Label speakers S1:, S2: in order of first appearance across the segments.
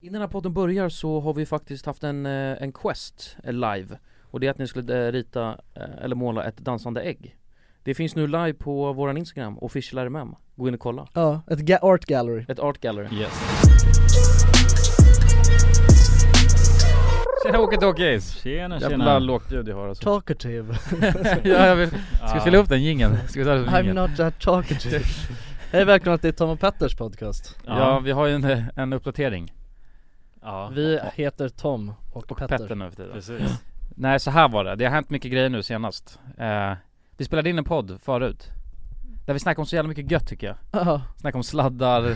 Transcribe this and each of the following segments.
S1: Innan den här podden börjar så har vi faktiskt haft en, eh, en quest eh, live Och det är att ni skulle eh, rita, eh, eller måla ett dansande ägg Det finns nu live på våran Instagram, official RMM Gå in och kolla
S2: Ja, ett ga- art gallery
S1: Ett art gallery
S3: Yes.
S1: Tjena Åke Dockis!
S3: Tjena
S1: Jävla
S3: tjena.
S1: lågt ljud jag har alltså
S2: Talkative
S1: ja, jag vill... Ska vi fylla upp den jingeln? Ska vi ta den som
S2: I'm
S1: jingel?
S2: not that talkative Hej välkomna till Tom och Petters podcast
S1: Ja, vi har ju en, en uppdatering
S3: ja.
S2: Vi heter Tom och,
S1: Och
S2: Petter,
S1: Petter nu för tiden
S3: Precis.
S1: Nej så här var det, det har hänt mycket grejer nu senast eh, Vi spelade in en podd förut Där vi snackade om så jävla mycket gött tycker jag
S2: Ja,
S1: Snackade om sladdar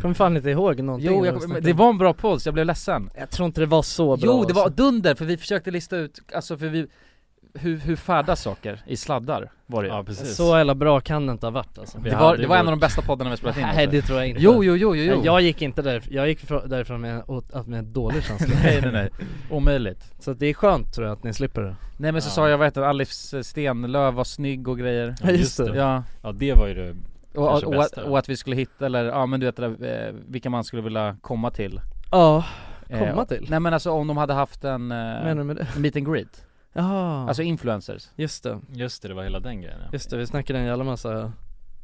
S2: kommer fan inte ihåg någonting
S1: Jo,
S2: av
S1: jag,
S2: det
S1: men det
S2: vi snackade
S1: var en bra podd så jag blev ledsen
S2: om. jag tror inte det var så bra
S1: Jo det var
S2: alltså.
S1: dunder för vi försökte lista ut, alltså för vi hur, hur färdas saker i sladdar var det ju.
S3: Ja precis.
S2: Så jävla bra kan det inte ha varit alltså
S3: Vi
S1: Det var,
S3: hade
S1: det var en
S3: vårt-
S1: av de bästa poddarna vi spelat in
S2: Nej
S1: alltså.
S2: det tror jag inte
S1: Jo jo jo jo, jo.
S2: Jag gick inte därifrån, jag gick frå- därifrån med, åt- att med en dålig känsla
S1: Nej nej nej, omöjligt
S2: Så att det är skönt tror jag att ni slipper det
S1: Nej men så
S3: Ja.
S1: sa jag vad heter det, Alif Stenlöf var snygg och grejer
S3: Ja, just det.
S1: Ja,
S3: Ja det var ju det.
S1: och, och,
S3: Kanske
S1: och, att,
S3: bästa.
S1: och att vi skulle hitta eller, ja men du vet det där, eh, vilka man skulle vilja komma till
S2: Ja,
S1: Eh,
S2: Komma
S1: och-
S2: till?
S1: Nej men alltså om de hade haft en eh,
S2: menar du med det?
S1: meet and greet,
S2: Jaha,
S1: alltså influencers
S2: just det,
S3: Just det, det var hela den grejen. ja.
S2: just Mm. det, vi snackade en jävla massa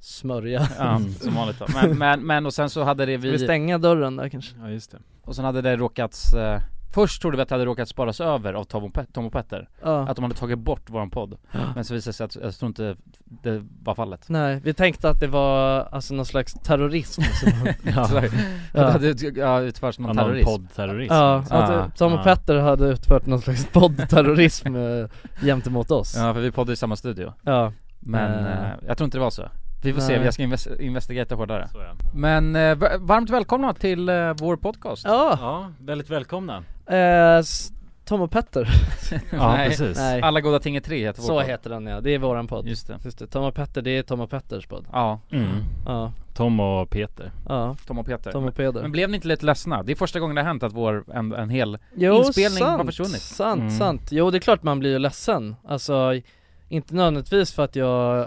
S2: smörja
S1: ja, som vanligt då. Men, men, men och sen så hade det
S2: Ska vi stänga dörren där kanske?
S3: Ja just det.
S1: Och sen hade det råkats, eh, först trodde vi att det hade råkat sparas över av Tom och, Pe- Tom och Petter
S2: Ja
S1: Att de hade tagit bort våran podd Men så visade det sig att, jag tror inte det var fallet
S2: Nej, vi tänkte att det var alltså någon slags terrorism som,
S1: Så,
S3: Ja.
S1: Det hade ja, utförts någon
S3: Någon
S1: terrorism
S3: poddterrorism.
S2: Ja, alltså,
S3: liksom.
S2: att eh,
S1: Ah,
S2: Tom och
S3: ah.
S2: Petter hade utfört någon slags poddterrorism eh, gentemot oss Ja,
S1: Ja för vi poddar i samma studio Men
S2: Eh.
S1: eh, jag tror inte det var så Vi får se,
S2: Nej.
S1: jag ska invest- investigera hårdare
S3: Så ja.
S1: Men eh, va- varmt välkomna till eh, vår podcast
S2: ja.
S3: ja, väldigt välkomna.
S2: Eh, s- Tom och Petter,
S3: Ja
S1: Nej.
S3: precis.
S2: nej,
S1: Alla goda ting är tre heter vår
S2: så
S1: podd.
S2: heter den ja, det är våran podd
S1: Just det
S2: Just det, Tom och Petter, det är Tom och Petters podd
S1: Ja,
S3: Mm.
S2: Ja,
S3: Tom och Peter.
S2: ja,
S1: Tom och Peter
S2: Tom och Peder
S1: Men blev ni inte lite ledsna? Det är första gången det har hänt att vår, en, en hel
S2: Jo,
S1: inspelning har
S2: sant,
S1: försvunnit.
S2: sant,
S3: Mm.
S2: sant Jo det är klart man blir ju ledsen Alltså, inte nödvändigtvis för att jag eh,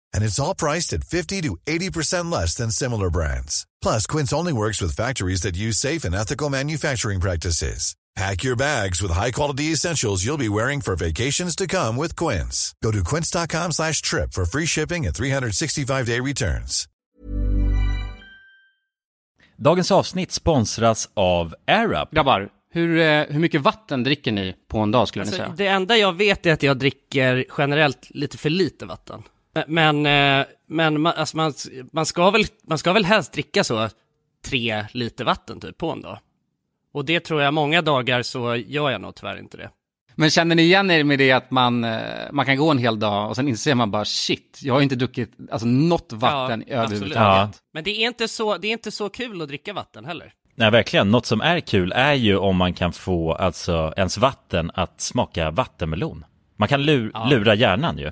S4: And it's all priced at 50 to 80% less than similar brands. Plus, Quince only works with factories that use safe and ethical manufacturing practices. Pack your bags with high-quality essentials you'll be wearing for vacations to come with Quince. Go to quince.com slash trip for free shipping and 365-day returns.
S3: Dagens avsnitt sponsras av AirUp.
S5: Grabbar, hur, eh, hur mycket vatten dricker ni på en dag skulle ni
S6: Alltså,
S5: säga?
S6: det enda jag vet är att jag dricker generellt lite för lite vatten. Men, eh, men man, alltså man, man, ska väl, man ska väl helst dricka så tre liter vatten typ på en dag. Och det tror jag många dagar så gör jag nog tyvärr inte det.
S5: Men känner ni igen er med det att man, eh, man kan gå en hel dag och sen inser man bara shit, jag har ju inte druckit alltså, något vatten
S6: Ja,
S5: överhuvudtaget.
S3: Ja.
S6: Men det är, inte så, det är inte så kul att dricka vatten heller.
S3: Nej verkligen, något som är kul är ju om man kan få alltså ens vatten att smaka vattenmelon. Man kan lu- lura hjärnan ju.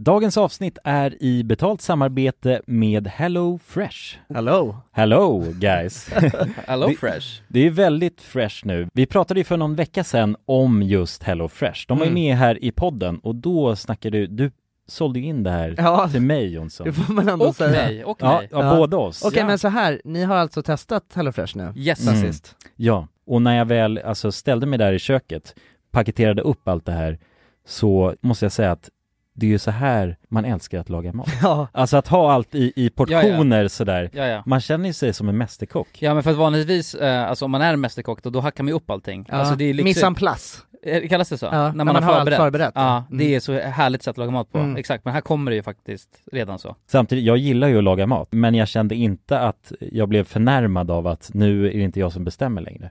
S3: Dagens avsnitt är i betalt samarbete med Hello Fresh.
S2: Hello!
S3: Hello guys!
S1: Hello
S3: Det-
S1: Fresh.
S3: Det är väldigt fresh nu. Vi pratade ju för någon vecka sedan om just Hello Fresh. De var ju
S2: Mm.
S3: med här i podden och då snackade du, du sålde ju in det här
S2: Ja,
S3: till mig Jonsson.
S2: det får man ändå
S1: Och
S2: säga.
S1: mig, och
S3: Ja,
S1: mig.
S3: ja,
S2: Ja.
S3: båda oss.
S2: Okej
S1: Ja.
S2: men så här, ni har alltså testat HelloFresh nu?
S1: Yes.
S2: Sen
S3: Mm.
S2: sist?
S3: Ja, och när jag väl alltså, ställde mig där i köket, paketerade upp allt det här, så måste jag säga att det är ju så här man älskar att laga mat.
S2: Ja.
S3: Alltså att ha allt i, i portioner sådär.
S1: Ja, ja.
S3: Man känner ju sig som en mästerkock.
S1: Ja men för att vanligtvis, eh, alltså om man är en mästerkock då, då hackar man ju upp allting.
S2: Ja.
S1: Alltså det är
S2: Mise en
S1: liksom,
S2: place.
S1: Eh, kallas det så?
S2: Ja, när man har allt förberett,
S1: Ja,
S2: ja.
S1: det
S2: Mm.
S1: är så härligt sätt att laga mat på.
S2: Mm.
S1: Exakt, men här kommer det ju faktiskt redan så.
S3: Samtidigt, jag gillar ju att laga mat, men jag kände inte att jag blev förnärmad av att nu är det inte jag som bestämmer längre.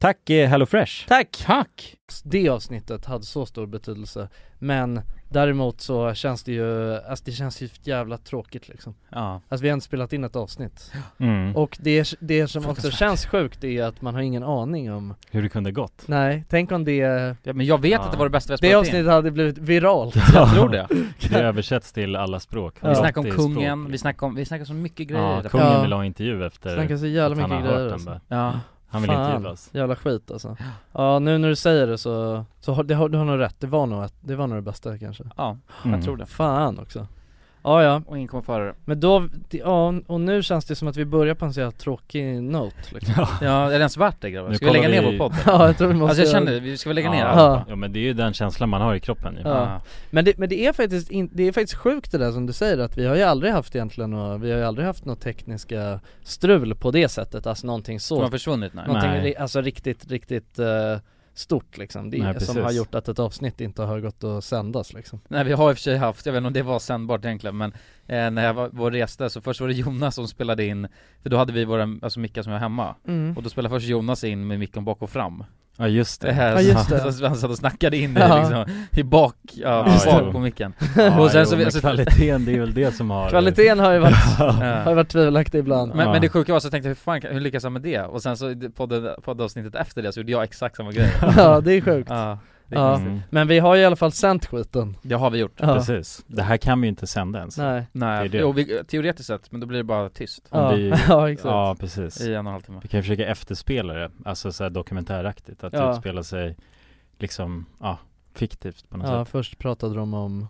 S3: Tack eh, HelloFresh!
S2: Tack!
S1: Tack!
S2: Det avsnittet hade så stor betydelse, men däremot så känns det ju, alltså det känns ju jävla tråkigt liksom.
S3: Ja.
S2: Alltså vi har inte spelat in ett avsnitt.
S3: Mm.
S2: Och det, det som också känns sjukt är att man har ingen aning om,
S3: Hur det kunde gått.
S2: nej, tänk om det
S1: Ja, men jag vet
S3: Ja.
S1: att det var det bästa vi har spelat in.
S2: Det avsnittet hade blivit viralt.
S1: Jag tror det.
S3: Det översätts till alla språk.
S2: Ja.
S1: Vi snackar om kungen, vi snackar om, vi snackar så mycket grejer. typ.
S3: Ja,
S1: där.
S3: kungen
S2: Ja.
S3: vill ha intervju efter
S2: Snackar så jävla
S3: att han har
S2: mycket
S3: hört
S2: grejer
S3: den
S2: alltså.
S3: bara.
S1: ja.
S3: Han vill
S2: Fan,
S3: intervjuas.
S2: jävla skit alltså. Ja nu när du säger det så, så har, det har, du har nog rätt, det var nog, ett, det var nog det bästa kanske
S1: ja
S3: Mm.
S1: jag tror det.
S2: Fan också Ja ja,
S1: Och ingen kommer före det.
S2: men då, det- ja och nu känns det som att vi börjar på en så jävla tråkig note liksom.
S1: Ja, är det ens värt det grabbar?
S3: Nu
S1: Ska vi lägga
S3: kollar
S1: ner
S3: vi-
S1: vår podd?
S2: Ja jag tror vi måste
S1: Alltså jag
S2: göra
S1: känner,
S2: det.
S1: det. vi ska väl lägga ner allt?
S3: ja. ja men det är ju den känslan man har i kroppen ju.
S2: Ja. men, det, men det är faktiskt in, det är faktiskt sjukt det där som du säger att vi har ju aldrig haft egentligen och, vi har ju aldrig haft något tekniska strul på det sättet, alltså någonting så
S1: Som har försvunnit nu?
S2: Någonting
S3: Nej.
S2: ri- alltså riktigt, riktigt eh, stort liksom. Det är
S3: Nej,
S2: som
S3: precis.
S2: har gjort att ett avsnitt inte har gått att sändas liksom.
S1: Nej vi har i och för sig haft, jag vet inte om det var sändbart egentligen men eh, när jag var, var och reste så först var det Jonas som spelade in, för då hade vi våra, alltså mickar som jag har hemma
S2: Mm.
S1: och då spelade först Jonas in med micken bak och fram
S3: Ja just det.
S1: Ja
S2: just det.
S1: Så han satt och snackade in i
S2: Ja.
S1: liksom, i bak, ja,
S3: Ja,
S1: bak
S3: jo.
S1: på micken
S3: Ja,
S1: Och sen
S3: jo,
S1: så-
S3: men
S1: alltså-
S3: kvaliteten, det är väl det som har...
S2: Kvaliteten har ju varit, har ju
S1: Ja.
S2: varit tvivelaktig ibland.
S1: Eh, men,
S3: Ja.
S1: men det sjuka var så jag tänkte hur fan, kan- hur lyckas han med det? Och sen så i det podden, poddavsnittet efter det så gjorde jag exakt samma grej
S2: ja, det är sjukt.
S1: Ja, Det är
S2: Ja,
S3: Mm.
S1: konstigt.
S2: men vi har ju i alla fall sänt skiten
S1: Det har vi gjort.
S2: Ja.
S3: Precis. Det här kan vi ju inte sända ens.
S2: Nej.
S1: Nej,
S3: Det är det.
S1: Jo, vi, teoretiskt sett, men då blir det bara tyst
S3: Om
S2: Ja.
S3: vi,
S2: Ja, exakt.
S3: ja, precis.
S1: i en och en halv timme
S3: Vi kan ju försöka efterspela det, alltså så här dokumentäraktigt, att
S2: Ja.
S3: utspela sig liksom, ja, fiktivt på något
S2: Ja,
S3: sätt.
S2: först pratade de om,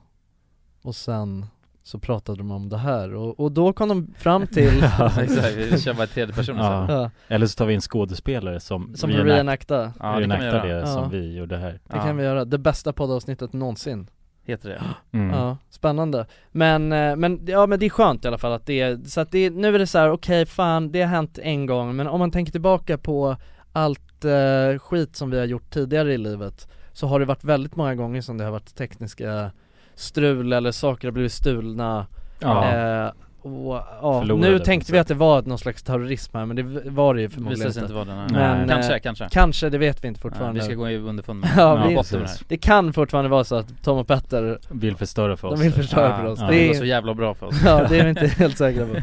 S2: och sen så pratade de om det här och, och då kom de fram till
S3: Ja,
S1: Exakt, vi kör bara i tredje person
S3: Ja.
S1: sen
S2: ja,
S3: Eller så tar vi in skådespelare som,
S2: Som
S3: reenact-
S2: reenacta,
S1: Ja, det kan vi
S3: reenactar
S1: göra
S3: det
S2: göra. Ja.
S3: som vi gjorde här.
S2: det kan vi göra, det bästa poddavsnittet någonsin
S1: Heter det?
S3: Mm.
S2: Ja, spännande. Men, eh, men, ja men det är skönt i alla fall att det är, så att det är, nu är det så här: okej fan det har hänt en gång, men om man tänker tillbaka på allt eh, skit som vi har gjort tidigare i livet så har det varit väldigt många gånger som det har varit tekniska strul eller saker har blivit stulna
S3: Ja.
S2: eh, och, ja,
S3: Förlorade
S2: nu
S3: på
S2: tänkte
S3: sätt.
S2: vi att det var någon slags terrorism här men det v- var det ju förmodligen
S1: Visar sig
S2: inte.
S1: inte vara den här.
S3: Men,
S1: Kanske,
S2: eh,
S1: kanske
S2: Kanske, det vet vi inte
S1: Nej,
S2: fortfarande.
S1: Vi ska gå i underfund med
S2: Ja,
S1: med
S2: vi-
S1: botten med det här
S2: Det kan fortfarande vara så att Tom och Petter,
S3: Vill förstöra för oss.
S2: de vill förstöra för oss.
S1: Ja,
S2: Det
S1: det
S2: är-
S1: går så jävla bra för oss
S2: Ja det är vi inte helt säkra på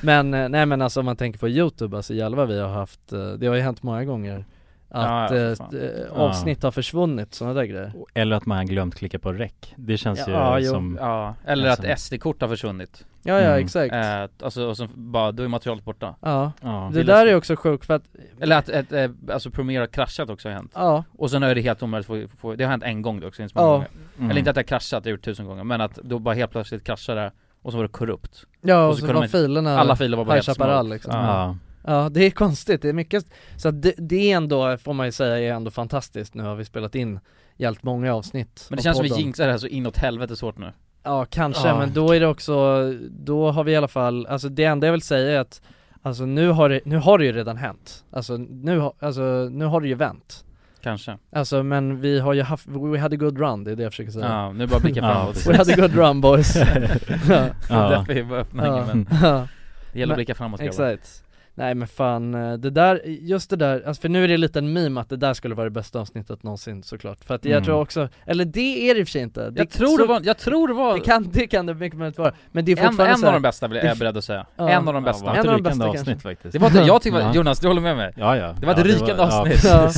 S2: Men eh, nej men alltså om man tänker på youtube, alltså jävlar vad vi har haft, eh, det har ju hänt många gånger Att
S1: Ja, ja, för
S2: eh,
S1: fan.
S2: eh, avsnitt har försvunnit, sådana där grejer
S3: Eller att man har glömt klicka på rec. Det känns
S2: Ja,
S3: ju
S2: jo.
S3: som,
S1: Ja, eller
S3: Alltså.
S1: att SD-kort har försvunnit
S2: Ja ja
S3: Mm.
S2: exakt
S1: eh, Alltså, och så bara, då är materialet borta
S2: Ja,
S3: ja.
S2: det där är också sjukt för att,
S1: Eller att, ett, eh, alltså Premiere har kraschat också har hänt
S2: ja,
S1: Och sen är det helt omöjligt att få, få, det har hänt en gång dock, så inte så många
S2: Ja.
S1: gånger
S3: Mm.
S1: Eller inte att det har kraschat, det har gjort tusen gånger, men att då bara helt plötsligt kraschade det och så var det korrupt
S2: ja och,
S1: Och så
S2: så,
S1: kunde
S2: var
S1: man-
S2: filerna,
S1: Alla filer var bara
S2: High
S1: helt
S2: Chaparral
S1: små.
S2: liksom.
S3: Ja.
S2: ja det är konstigt, det är mycket, så att det, det är ändå, får man ju säga, är ändå fantastiskt, nu har vi spelat in jävligt många avsnitt
S1: Men det
S2: av
S1: känns som vi
S2: podden.
S1: jinxar det här så inåt helvete svårt nu
S2: Ja kanske,
S3: Ja.
S2: men då är det också, då har vi i alla fall, alltså det enda jag vill säga är att Alltså nu har det, nu har det ju redan hänt. Alltså nu, har- alltså nu har det ju vänt.
S1: Kanske
S2: Alltså men vi har ju haft, we had a good run, det är det jag försöker säga.
S1: Ja, nu bara blicka
S3: Ja,
S1: framåt
S2: We had a good run boys. ja,
S1: Det är
S3: Ja.
S1: därför vi bara öppnar
S2: ja,
S1: hängen, men
S2: ja,
S1: det gäller
S2: Men-
S1: att blicka framåt grabbar.
S2: exakt. Nej men fan, eh, det där, just det där, alltså för nu är det lite en meme att det där skulle vara det bästa avsnittet någonsin såklart. För att jag
S3: Mm.
S2: tror också, eller det är det i och för sig inte. Det,
S1: Jag tror det var, jag tror det var
S2: det kan, det kan det mycket möjligt vara. Men det är
S1: en,
S2: fortfarande
S1: en
S2: så här,
S1: av de bästa vill jag- är jag beredd att säga,
S2: Ja.
S1: en av
S3: Ja,
S1: de
S3: det
S1: bästa
S3: var
S2: En av de
S3: ett rykande
S2: bästa
S3: avsnitt
S2: kanske.
S3: faktiskt.
S1: Det var inte, jag tyckte,
S3: Ja.
S1: Jonas du håller med mig?
S3: Ja, ja.
S1: Det var ett
S3: ja,
S1: rykande
S3: ja,
S1: avsnitt
S2: Ja.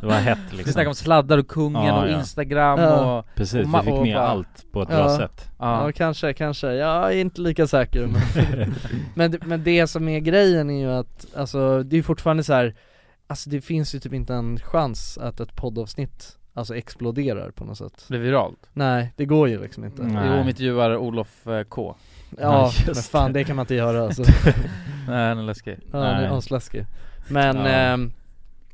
S3: det var hett
S1: Vi
S3: liksom.
S1: snackade om sladdar och kungen
S3: Ja,
S1: och
S3: ja.
S1: instagram
S2: Ja.
S1: och...
S3: Precis,
S1: ma-
S3: vi fick
S1: och
S3: med
S1: bara-
S3: allt på ett
S2: Ja.
S3: bra sätt.
S1: Ja.
S2: Ja kanske, kanske. Jag är inte lika säker men, men, men det som är grejen är ju att, alltså det är fortfarande så här. Alltså det finns ju typ inte en chans att ett poddavsnitt Alltså exploderar på något sätt
S1: Blev viralt.
S2: Nej, det går ju liksom inte
S3: Nej.
S1: Jo, om intervjuar Olof eh, K.
S2: Ja,
S3: just
S2: men fan det kan man inte göra alltså
S1: Nej, han är läskig.
S2: Ja, det är
S3: Nej.
S2: asläskigt Men,
S3: Ja.
S2: ehm,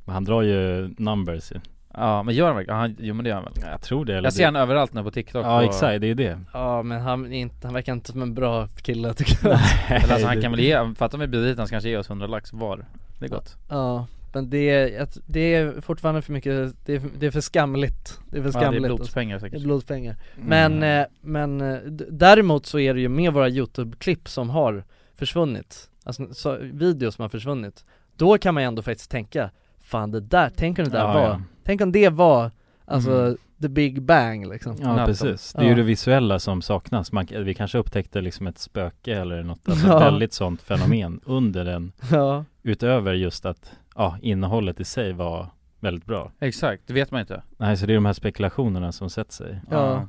S3: Men han drar ju numbers ju.
S1: Ja, men gör han verkligen? Ja, han- Jo men det gör han väl?
S3: Jag tror det. Eller
S1: Jag ser han överallt nu på TikTok
S3: Ja
S1: och,
S3: exakt, det är det.
S2: ja men han, är inte, han verkar inte som en bra kille tycker jag
S1: Eller alltså, han kan väl ge, fatta om vi bjuder hit han så kanske ger oss 100 lax var. Det är gott.
S2: Ja, men det är, att- det är fortfarande för mycket, det är, det är för skamligt Det är för
S1: Ja, det är
S2: skamligt alltså.
S1: blodspengar
S2: Det
S1: säkert. Mm.
S2: är blodspengar Men, eh, men eh, d- däremot så är det ju med våra YouTube-klipp som har försvunnit, alltså så, videos som har försvunnit, då kan man ju ändå faktiskt tänka, fan det där, tänk om det där
S3: Ja,
S2: var,
S3: ja.
S2: tänk om det var, alltså the big bang liksom
S3: Ja precis, det är ju
S2: Ja.
S3: det visuella som saknas. Man, vi kanske upptäckte liksom ett spöke eller något, alltså
S2: Ja.
S3: ett väldigt sånt fenomen under den,
S2: Ja,
S3: utöver just att ja, innehållet i sig var väldigt bra.
S1: Exakt, det vet man inte.
S3: Nej, så det är de här spekulationerna som sätter sig.
S2: ja,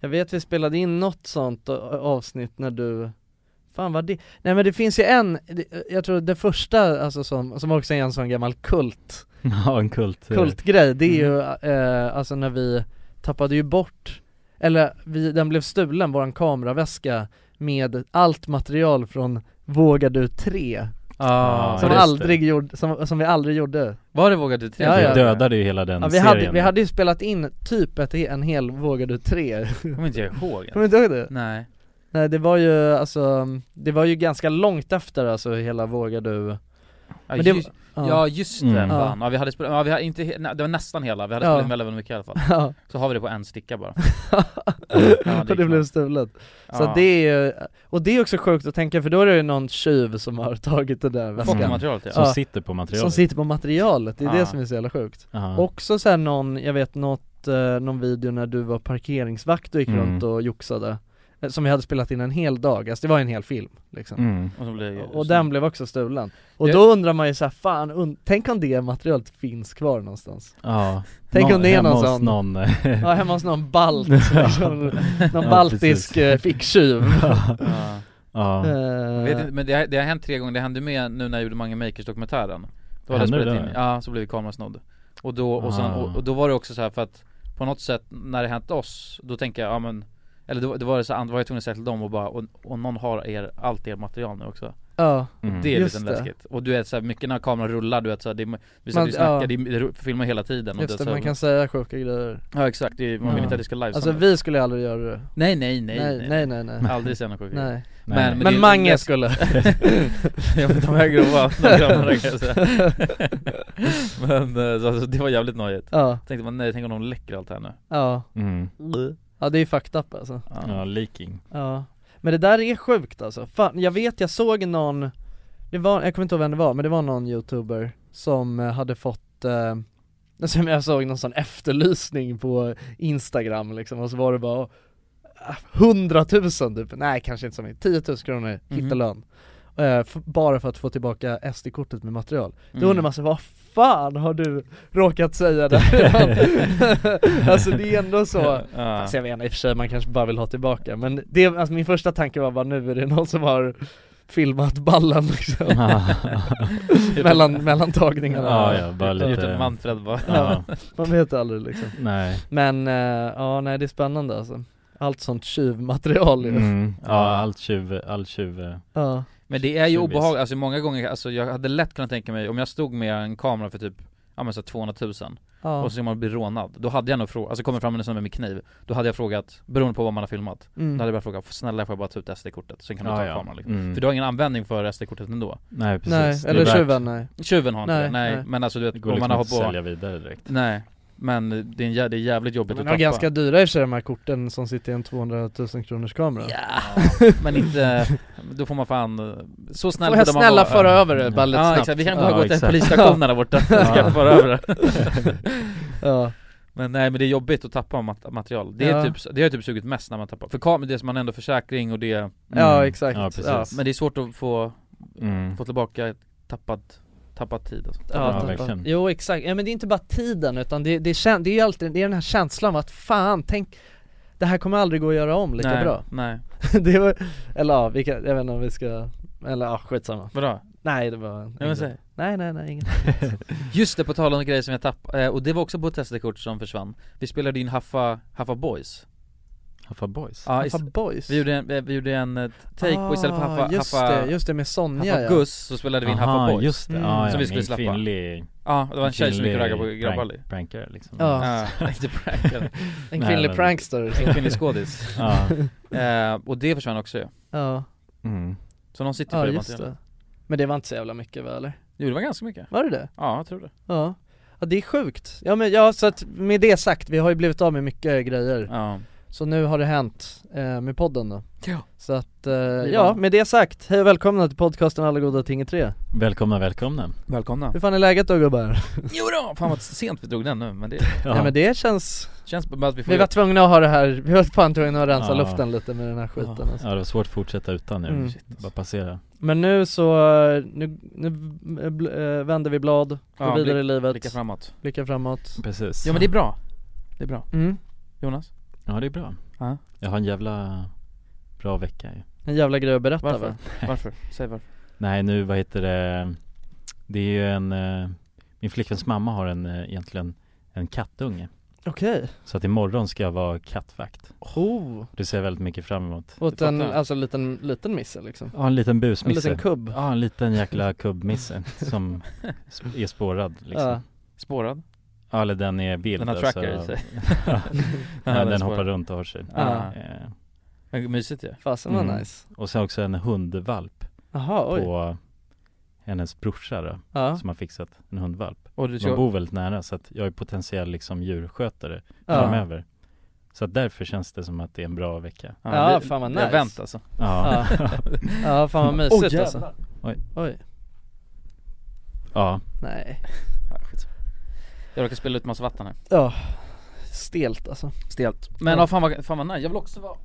S2: Jag vet vi spelade in något sånt a- avsnitt när du Fan vad det, nej men det finns ju en, det- jag tror det första alltså som, som också är en sån gammal kult
S3: Ja, en kult. eh,
S2: kultgrej, det är ju eh, alltså när vi tappade ju bort, eller vi, den blev stulen, våran kameraväska med allt material från Vågar du 3
S1: Ah,
S2: som,
S3: just det.
S2: aldrig gjorde, som, som vi aldrig gjorde.
S1: Var det Vågar du tre?
S2: Ja,
S3: det
S2: ja.
S3: dödade ju hela den
S2: Ja, vi,
S3: serien.
S2: hade, vi hade ju spelat in typ ett, en hel Vågar du 3
S1: Kommer inte jag ihåg.
S2: Kommer du inte ihåg det?
S1: Nej.
S2: Nej det var ju alltså, det var ju ganska långt efter alltså hela Vågar du
S1: Ja,
S2: Men det-
S1: just, ja just det,
S3: Mm.
S1: fan. Ja, vi hade spelat, ja, vi hade inte, he- nej, det var nästan hela, vi hade
S2: Ja.
S1: spelat in väldigt väldigt mycket i alla fall.
S2: ja.
S1: Så har vi det på en sticka bara.
S2: och det blev stulet. Så
S1: Ja.
S2: det är ju, och det är också sjukt att tänka för då är det ju någon tjuv som har tagit det där väskan
S1: Fått materialet ja.
S3: Som
S2: Ja.
S3: sitter på materialet.
S2: Som sitter på materialet, det är det
S1: Ja.
S2: som är så jävla sjukt
S3: Ja.
S2: Också såhär någon, jag vet något, eh, någon video när du var parkeringsvakt och gick
S3: Mm.
S2: runt och joxade eh, som vi hade spelat in en hel dag, alltså det var en hel film liksom.
S3: Mm.
S7: Och så blev det-
S2: Och den blev också stulen. Och
S1: Det-
S2: då undrar man ju såhär, fan, un- tänk om det materialet finns kvar någonstans?
S3: Ja.
S2: Tänk
S3: Nå-
S2: om det är
S3: hemma
S2: någon
S3: hos
S2: sån,
S3: någon.
S2: ja hemma hos någon balt,
S3: Ja.
S2: liksom, någon
S3: Ja,
S2: baltisk
S3: precis.
S2: eh, ficktjuv
S1: Ja.
S3: ja.
S2: Eh,
S1: Vet inte, men det, har- det har hänt tre gånger, det hände med nu när jag gjorde Mange Makers dokumentären Då hade jag
S3: Hände det
S1: spelat in,
S3: där?
S1: ja så blev kameran snodd Och då, och, sen,
S3: Ah.
S1: och, och då var det också så här för att på något sätt när det hänt oss, då tänker jag ja men Eller då, då var det så här, då var jag tvungen att säga till dem och bara och, och någon har er, allt er material nu också
S2: Ja,
S3: Mm.
S1: Det är
S2: Just
S1: lite
S2: det.
S1: läskigt Och du vet såhär, mycket när kameran rullar du vet såhär, det är, vi satt
S2: Man-
S1: ju och snackade,
S2: ja.
S1: det, är, det är- filmar hela tiden och
S2: just
S1: det, så
S2: det,
S1: här-
S2: man kan säga sjuka grejer
S1: Ja exakt, det är, man vill
S3: Ja.
S1: inte att det ska live
S2: Alltså vi skulle aldrig göra det
S1: nej, nej nej
S2: Nej, nej, nej, nej, nej.
S1: Aldrig säga något sjukt
S3: Nej.
S1: Men-
S2: Men,
S1: det-
S2: Mange
S1: det-
S2: skulle
S1: Ja men de är grova, de är grova kan jag säga Men eh, så, alltså, det var jävligt nojigt
S2: Ja,
S1: Tänkte man nej, tänk om de läcker allt här nu
S2: ja,
S3: Mm.
S2: ja det är ju fucked up alltså
S3: Ja, leaking.
S2: Ja, men det där är sjukt alltså. Fan, jag vet jag såg någon, det var, jag kommer inte ihåg vem det var, men det var någon youtuber som eh, hade fått eh, som jag såg någon sån efterlysning på instagram liksom och så var det bara ah, 100 000 typ, nej kanske inte så mycket, 10 000 kronor, hitta
S1: Mhm.
S2: lön Eh, f- Bara för att få tillbaka SD-kortet med material Då
S1: Mm.
S2: undrar man sig, vad fan har du råkat säga där? alltså det är ändå så
S1: ja.
S2: Fast jag vet inte, i och för sig man kanske bara vill ha tillbaka men det, alltså min första tanke var bara nu är det någon som har filmat ballen liksom
S1: Mm.
S2: mellan, mellan tagningarna
S3: Ja, ja, bara
S1: Gjort- Gjort
S3: lite-
S1: en typ Manfred bara
S3: Ja.
S2: Man vet aldrig liksom
S3: Nej.
S2: Men, eh, ja nej det är spännande alltså Allt sånt tjuvmaterial ju
S3: Mm. Ja, allt tjuv, all tjuv. eh.
S2: Ja,
S1: Men det är ju
S3: Tjuvis.
S1: obehagligt, alltså många gånger, alltså jag hade lätt kunnat tänka mig om jag stod med en kamera för typ Ja men så här 200 000
S2: ja,
S1: och så man blir rånad, då hade jag nog frågat, alltså kommer fram en snubbe med kniv Då hade jag frågat, beroende på vad man har filmat Då
S2: mm.
S1: hade jag bara frågat, snälla får jag bara ta ut SD-kortet? Sen kan du
S3: Ja,
S1: ta
S3: ja.
S1: kameran liksom.
S3: Mm.
S1: För du har ingen användning för SD-kortet ändå
S3: Nej, precis.
S2: Nej,
S3: Det är
S2: eller
S3: värt-
S2: tjuven nej
S1: Tjuven har inte
S2: Nej,
S1: det, nej,
S2: nej.
S1: men alltså du
S3: Det
S1: vet,
S3: går
S1: om man
S3: liksom
S1: har
S3: inte att
S1: på
S3: sälja vidare direkt.
S1: Nej, men det är, en jä- det är jävligt jobbigt
S2: Men
S1: att
S2: de är
S1: tappa
S2: ganska dyra i och för sig de här korten som sitter i en 200 000 kronors kamera
S1: Ja, men inte, då får man fan, så snäll
S2: Får jag
S1: borde man
S2: snälla
S1: vara.
S2: föra över det bara lite
S1: Ja
S2: snabbt?
S1: exakt, vi kan
S2: ja.
S1: bara gå till
S3: exakt.
S1: polisstationen där borta, så ska jag föra över det
S2: Ja.
S1: Men nej men det är jobbigt att tappa mat- material, det är
S2: Ja.
S1: typ, det har typ sugit mest när man tappar, för kameran, det är som man ändå försäkring och det
S2: Ja, exakt.
S3: Ja,
S2: Ja,
S3: precis.
S1: Men det är svårt att få,
S3: Mm.
S1: få tillbaka tappat, tappat tid alltså.
S3: Ja,
S2: tappa-
S3: verkligen.
S2: Jo exakt, ja, men det är inte bara tiden utan det, det, kän, det är ju alltid det är den här känslan av att fan, tänk Det här kommer aldrig gå att göra om lika
S1: nej,
S2: bra
S1: Nej,
S2: det var, Eller ja, vi kan, jag vet inte om vi ska, eller ja skitsamma
S1: vadå?
S2: Nej det var en-
S1: Jag vill säga.
S2: Nej nej nej, inget
S1: Just det, på tal om grejer som jag tappade, eh, och det var också på ett testkort som försvann Vi spelade in Haffa, Haffa Boys
S3: Haffa boys.
S1: Ja,
S2: Haffa Boys Ah,
S1: Vi gjorde en, vi gjorde en eh, take på istället för Haffa,
S2: just
S1: Haffa,
S2: det, just det med Sonja
S1: Haffa
S2: ja.
S1: Gus så spelade vi in Haffa Boys
S3: just det.
S2: Mm.
S3: Ja, ja,
S1: Som vi skulle
S3: med en
S1: släppa.
S3: Kvinnlig,
S1: Ja, det var en tjej som gick och
S3: kvinnlig
S1: raggade på grabbar
S3: prank, Prankare liksom.
S2: Ja.
S1: Ja, inte prankare
S2: En
S3: Nej,
S2: kvinnlig
S3: men-
S2: prankster
S1: En kvinnlig skådis
S3: ja.
S1: eh, Och det försvann också ju
S2: Ja,
S3: Mm.
S1: Så någon sitter på
S2: ja
S1: Typ det
S2: just
S1: materialet
S2: det Men det var inte så jävla mycket väl eller?
S1: Jo det var ganska mycket
S2: Var det det?
S1: Ja, jag tror det
S2: Ja Ja det är sjukt, ja men ja så att med det sagt, vi har ju blivit av med mycket grejer
S1: Ja,
S2: Så nu har det hänt eh, med podden då.
S1: Ja.
S2: Så att, eh, ja med det sagt, hej och välkomna till podcasten Alla goda ting är tre.
S3: Välkomna, välkomna.
S1: välkomna
S2: Hur fan är läget då gubbar?
S1: Jo då, fan vad sent vi drog den nu men det
S2: Ja. men det känns,
S1: känns bara att vi får
S2: vi var tvungna att ha det här, vi var fan tvungna att rensa
S3: Ja.
S2: luften lite med den här skiten alltså.
S3: Ja, det var svårt att fortsätta utan nu.
S2: Mm.
S3: Shit, Bara passera.
S2: Men nu så, eh, nu, nu eh, bl- eh, vänder vi blad, går
S1: Ja,
S2: vidare i
S1: blick-
S2: livet,
S1: blicka
S2: blicka,
S1: framåt
S2: framåt
S3: Precis.
S1: Ja men det är bra Det är bra
S2: mm.
S1: Jonas?
S3: Ja, det är bra.
S1: Ja.
S3: Jag har en jävla bra vecka ju.
S2: En jävla grej att berätta
S1: Varför?
S2: va?
S1: Varför? Säg varför
S3: Nej nu, vad heter det? Det är ju en, eh, min flickväns mamma har en, eh, egentligen en kattunge
S2: Okej,
S3: Så att imorgon ska jag vara kattvakt
S2: oh,
S3: Det ser jag väldigt mycket fram emot
S2: åt
S1: Det
S2: en,
S1: fattar jag.
S2: alltså en liten, liten misse liksom
S3: Ja en liten
S2: En
S3: busmisse
S2: liten kubb
S3: Ja en liten jäkla kubbmisse som sp- är spårad liksom
S2: Ja.
S3: ja.
S1: Spårad?
S3: eller den är vild alltså.
S1: Den har tracker i sig
S3: ja,
S1: Ja,
S3: den,
S1: är
S3: hoppar
S1: spårad.
S3: runt och har sig
S1: Ja.
S3: eh,
S1: Men Mysigt ju
S2: Fasen vad
S3: Mm.
S2: nice
S3: Och sen också en hundvalp
S2: Jaha, oj
S3: på hennes brorsa då,
S2: Ja,
S3: som har fixat en hundvalp
S1: Och du
S3: De
S1: kör,
S3: bor väldigt nära så att jag är potentiell liksom djurskötare
S2: ja.
S3: framöver Så att därför känns det som att det är en bra vecka
S2: Ja,
S1: vi-
S2: fan vad
S1: vi
S2: nice.
S1: har vänt alltså
S3: Ja,
S2: ja, fan vad mysigt
S1: Oj,
S2: alltså
S3: Oj.
S2: Oj,
S3: ja,
S2: nej
S1: Jag råkar spela ut massa vatten här
S2: Ja, stelt alltså
S1: Stelt Men
S2: Ja.
S1: ja. fan, vad, fan vad nice, jag vill också vara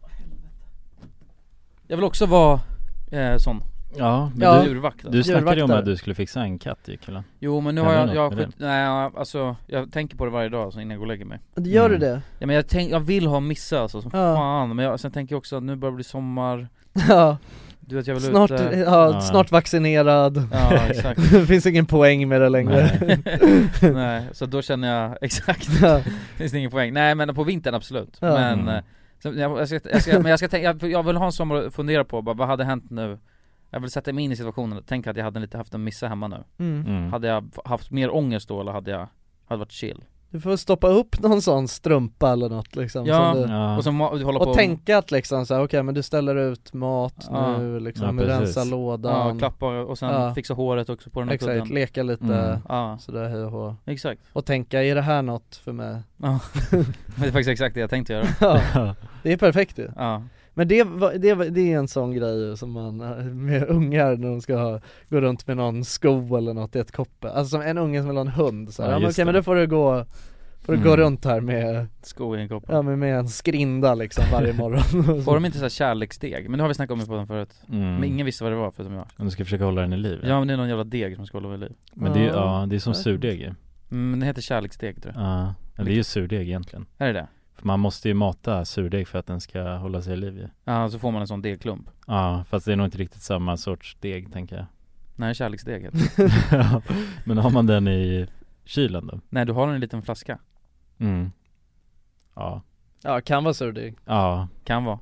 S1: Jag vill också vara eh, sån
S3: Ja, men
S1: Ja.
S3: du,
S1: Djurvakt, alltså.
S3: du snackade ju om
S1: Djurvaktare.
S3: att du skulle fixa en katt i kullen
S1: Jo men nu
S3: Hände
S1: har jag,
S3: något
S1: jag,
S3: med
S1: skjut, nej alltså jag tänker på det varje dag alltså, innan jag går och lägger mig
S2: Gör du det?
S1: Ja men jag, tänk, jag vill ha missa alltså som
S2: Ja.
S1: fan, men jag, sen tänker jag också att nu börjar det bli sommar
S2: Ja.
S1: Du vet jag vill
S2: Snart,
S1: ut eh,
S2: ja, snart vaccinerad
S1: Ja, exakt.
S2: Det finns ingen poäng med det längre
S1: Nej, så då känner jag exakt, finns det ingen poäng. Nej men på vintern absolut,
S2: Ja.
S1: men
S2: Mm.
S1: eh, sen- jag, jag ska, jag ska, men jag, ska tänka, jag, jag vill ha en sommar att fundera på, bara, vad hade hänt nu? Jag vill sätta mig in i situationen, tänk att jag hade lite haft en missa hemma nu
S2: Mm. Mm.
S1: Hade jag haft mer ångest då eller hade jag, hade varit chill?
S2: Du får stoppa upp någon sån strumpa eller något liksom
S1: Ja,
S2: som du,
S1: Ja. och så ma- du håller på-
S2: Och tänka att liksom så här, okej men du ställer ut mat
S1: Ja.
S2: nu
S1: Ja,
S2: liksom, du
S1: precis.
S2: rensar lådan
S1: Ja, klappa och sen fixa håret också på den här
S2: Exakt,
S1: kudden.
S2: leka lite
S1: Mm. Ja.
S2: sådär hej och hå
S1: Exakt
S2: Och tänka, är det här något för mig?
S1: Ja, det är faktiskt exakt det jag tänkte göra
S3: Mm.
S2: Ja. Det är perfekt ju
S1: Ja.
S2: Men det, var- det, var- det är en sån grej ju som man, eh, med ungar när de ska ha, gå runt med någon sko eller något i ett koppe Alltså som en unge som vill ha en hund så här.
S1: Ja,
S2: Ja, men
S1: just
S2: okej men
S1: det.
S2: då får du gå, får du gå
S1: Mm.
S2: runt här med
S1: Sko i en kopp
S2: Ja men med en skrinda liksom varje morgon
S1: Får de inte så här kärleksdeg? Men nu har vi snackat om det på den förut
S3: Mm.
S1: Men ingen visste vad det var förutom jag
S3: Om du ska försöka hålla den i liv
S1: Ja men det är någon jävla deg som ska hålla vid liv
S3: Men det är ju, ja det är som surdeg ju
S1: Mm, det heter kärleksdeg tror jag
S3: Ja, men det är ju surdeg egentligen
S1: Är det det?
S3: För man måste ju mata surdeg för att den ska hålla sig i liv ju
S1: Ja, så får man en sån degklump
S3: Ja, fast det är nog inte riktigt samma sorts deg tänker jag
S1: Nej, kärleksdeg heter det.
S3: Ja, Men har man den i kylen då?
S1: Nej, du har en liten flaska
S3: Mm Ja,
S2: Ja kan vara surdeg
S3: ja
S1: Kan vara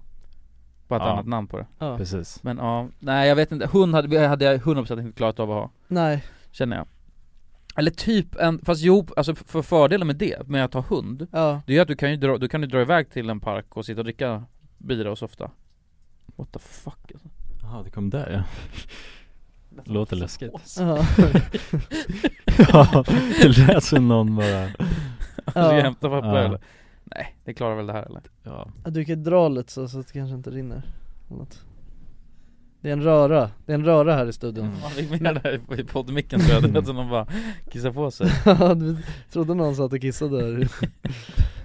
S1: Bara ett
S3: Ja.
S1: annat namn på det
S2: Ja.
S3: Precis.
S1: Men ja, nej jag vet inte, hund hade, hade jag 100% inte klarat av att ha
S2: Nej.
S1: Känner jag Eller typ en, fast jo, alltså f- för fördelen med det, med att ha hund
S2: Ja.
S1: Det är att du kan ju dra, du kan ju dra iväg till en park och sitta och dricka bira och softa What the fuck alltså.
S3: Jaha, det kom där ja Låter läskigt
S2: Ja.
S3: Ja, det lät som någon bara
S1: Ska jag hämta papper
S3: Ja.
S1: eller? Nej, det klarar väl det här eller?
S3: Ja
S2: Ja, Du kan dra lite så, så att det kanske inte rinner eller något. Det är en röra, det är en röra här i studion
S1: Man fick med det här i- i poddmicken tror jag, det lät som de bara kissade på sig
S2: Ja, du trodde någon satt och kissade där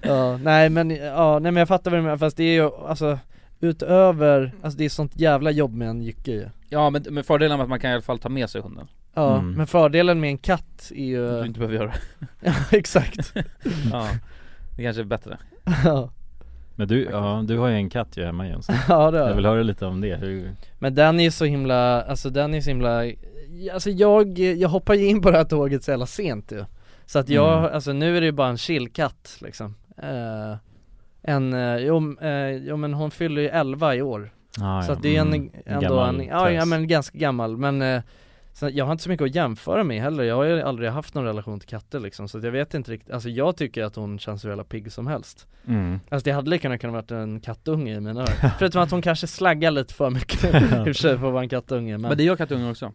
S2: Ja, nej men, ja, nej men jag fattar vad du menar fast det är ju alltså Utöver, alltså det är sånt jävla jobb med en jycke ju
S1: Ja men, men fördelen med att man kan i alla fall ta med sig hunden
S2: Ja,
S1: Mm.
S2: men fördelen med en katt är ju
S1: Att du inte behöver göra
S2: Ja, exakt Mm.
S1: Ja, det kanske är bättre
S2: Ja.
S3: Men du, ja, du har ju en katt ju hemma Jönsson
S2: Ja, det har
S3: Jag
S2: jag.
S3: vill höra lite om det, hur
S2: Men den är ju så himla, alltså den är så himla Alltså jag, jag hoppar ju in på det här tåget så jävla sent ju Så att jag,
S3: Mm.
S2: alltså nu är det ju bara en chillkatt liksom Eh, En, eh, jo, eh, jo men hon fyller ju 11 i år
S3: Ah,
S2: Så
S3: ja,
S2: att det är en,
S3: mm.
S2: ändå
S3: Gammal
S2: en, ja, ja
S3: tös.
S2: men ganska gammal men eh, så att jag har inte så mycket att jämföra med heller, jag har ju aldrig haft någon relation till katter liksom så att jag vet inte riktigt, alltså jag tycker att hon känns hur jävla pigg som helst
S3: Mm.
S2: Alltså det hade lika gärna kunnat varit en kattunge i mina öron, förutom att hon kanske slaggar lite för mycket i och för sig för att vara en kattunge men,
S1: Men det gör kattungar också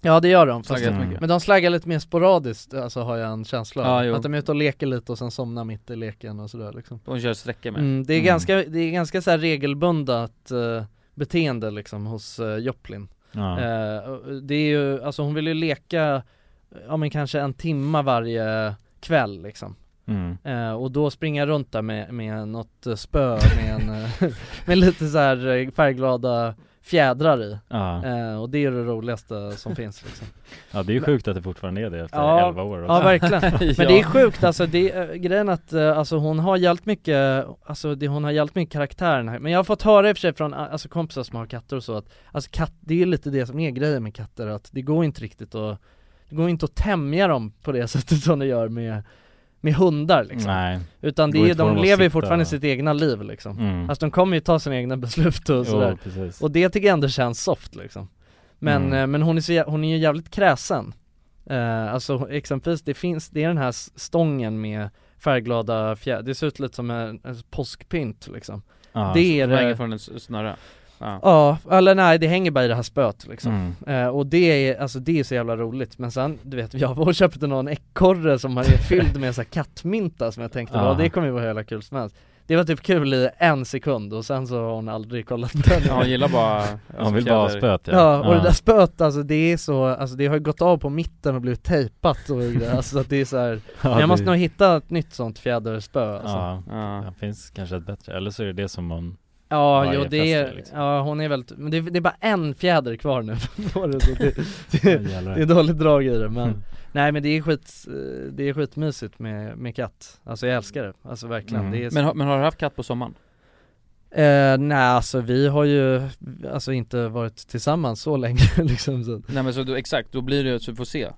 S2: Ja det Mm. gör de, fast,
S1: Slaggar jättemycket.
S2: men de slaggar lite mer sporadiskt alltså har jag en känsla
S1: Ja,
S2: av
S1: jo.
S2: Att de är ute och leker lite och sen somnar mitt i leken och sådär liksom
S1: De kör sträckor med
S2: Mm, det är ganska, det är ganska så här regelbundet eh, beteende liksom hos eh, Joplin.
S3: Ja.
S2: Eh, och det är ju, alltså hon vill ju leka, ja men kanske en timma varje kväll liksom.
S3: Mm.
S2: Eh, och då springa runt där med, med något eh, spö med, en, eh, med lite så här eh, färgglada fjädrar i.
S3: Ja.
S2: Eh, och det är det roligaste som finns liksom.
S3: Ja det är ju sjukt att det fortfarande är det efter
S2: Ja,
S3: 11 år
S2: Ja
S3: också.
S2: verkligen, men
S3: Ja.
S2: det är sjukt alltså, det, är, eh, grejen att eh, alltså, hon har hjälpt mycket, alltså det, hon har hjälpt mycket karaktären här. Men jag har fått höra i och för sig från eh, alltså, kompisar som har katter och så att, alltså katt, det är ju lite det som är grejen med katter, att det går inte riktigt att, det går inte att tämja dem på det sättet som det gör med med hundar liksom.
S3: Nej.
S2: Utan det
S3: Går
S2: är,
S3: inte få
S2: de
S3: dem att
S2: lever ju
S3: sitta.
S2: fortfarande sitt egna liv liksom.
S3: Mm.
S2: Alltså de kommer ju ta sina egna beslut
S3: Jo,
S2: och sådär.
S3: precis.
S2: och det tycker jag ändå känns soft liksom. Men,
S3: Mm.
S2: eh, men hon, är så, jä- hon är ju jävligt kräsen eh, Alltså exempelvis, det finns, det är den här s- stången med färgglada fjädrar, det ser ut lite som en, en påskpynt liksom
S1: Ja,
S2: Det är
S1: som hänger
S2: det
S1: från en s- snurra Ja,
S2: Ja, eller nej det hänger bara i det här spöet liksom
S1: Mm.
S2: eh, Och det är, alltså det är så jävla roligt Men sen, du vet, jag var och köpte någon ekorre som är fylld med så här kattmynta som jag tänkte,
S3: Ja.
S2: ja det kommer ju vara hela kul som helst Det var typ kul i en sekund och sen så har hon aldrig kollat den
S1: Ja, hon gillar bara, alltså,
S3: Han vill bara ha
S1: fjäder.
S3: spöet
S2: Ja, och det där spöet alltså det är så, alltså det har ju gått av på mitten och blivit tejpat och grejer, alltså så att det är så här,
S3: Ja,
S2: Jag måste
S3: det-
S2: nog hitta ett nytt sånt fjäderspö alltså.
S3: Ja, det finns kanske ett bättre, eller så är det det som man
S2: Ja,
S8: varje
S2: jo, det är,
S8: fest, liksom.
S2: ja hon är väldigt, men det, det är bara en fjäder kvar nu på det, så det, det,
S8: jävlar.
S2: det är dåligt drag i det
S3: Mm.
S2: men Nej men det är skit, eh, det är skitmysigt med, med katt, alltså jag älskar det, alltså verkligen
S1: Mm.
S2: det är
S1: Men har- men har du haft katt på sommaren?
S2: Eh, nej alltså vi har ju, alltså inte varit tillsammans så länge liksom så.
S1: Nej men så då, exakt, då blir det så vi får se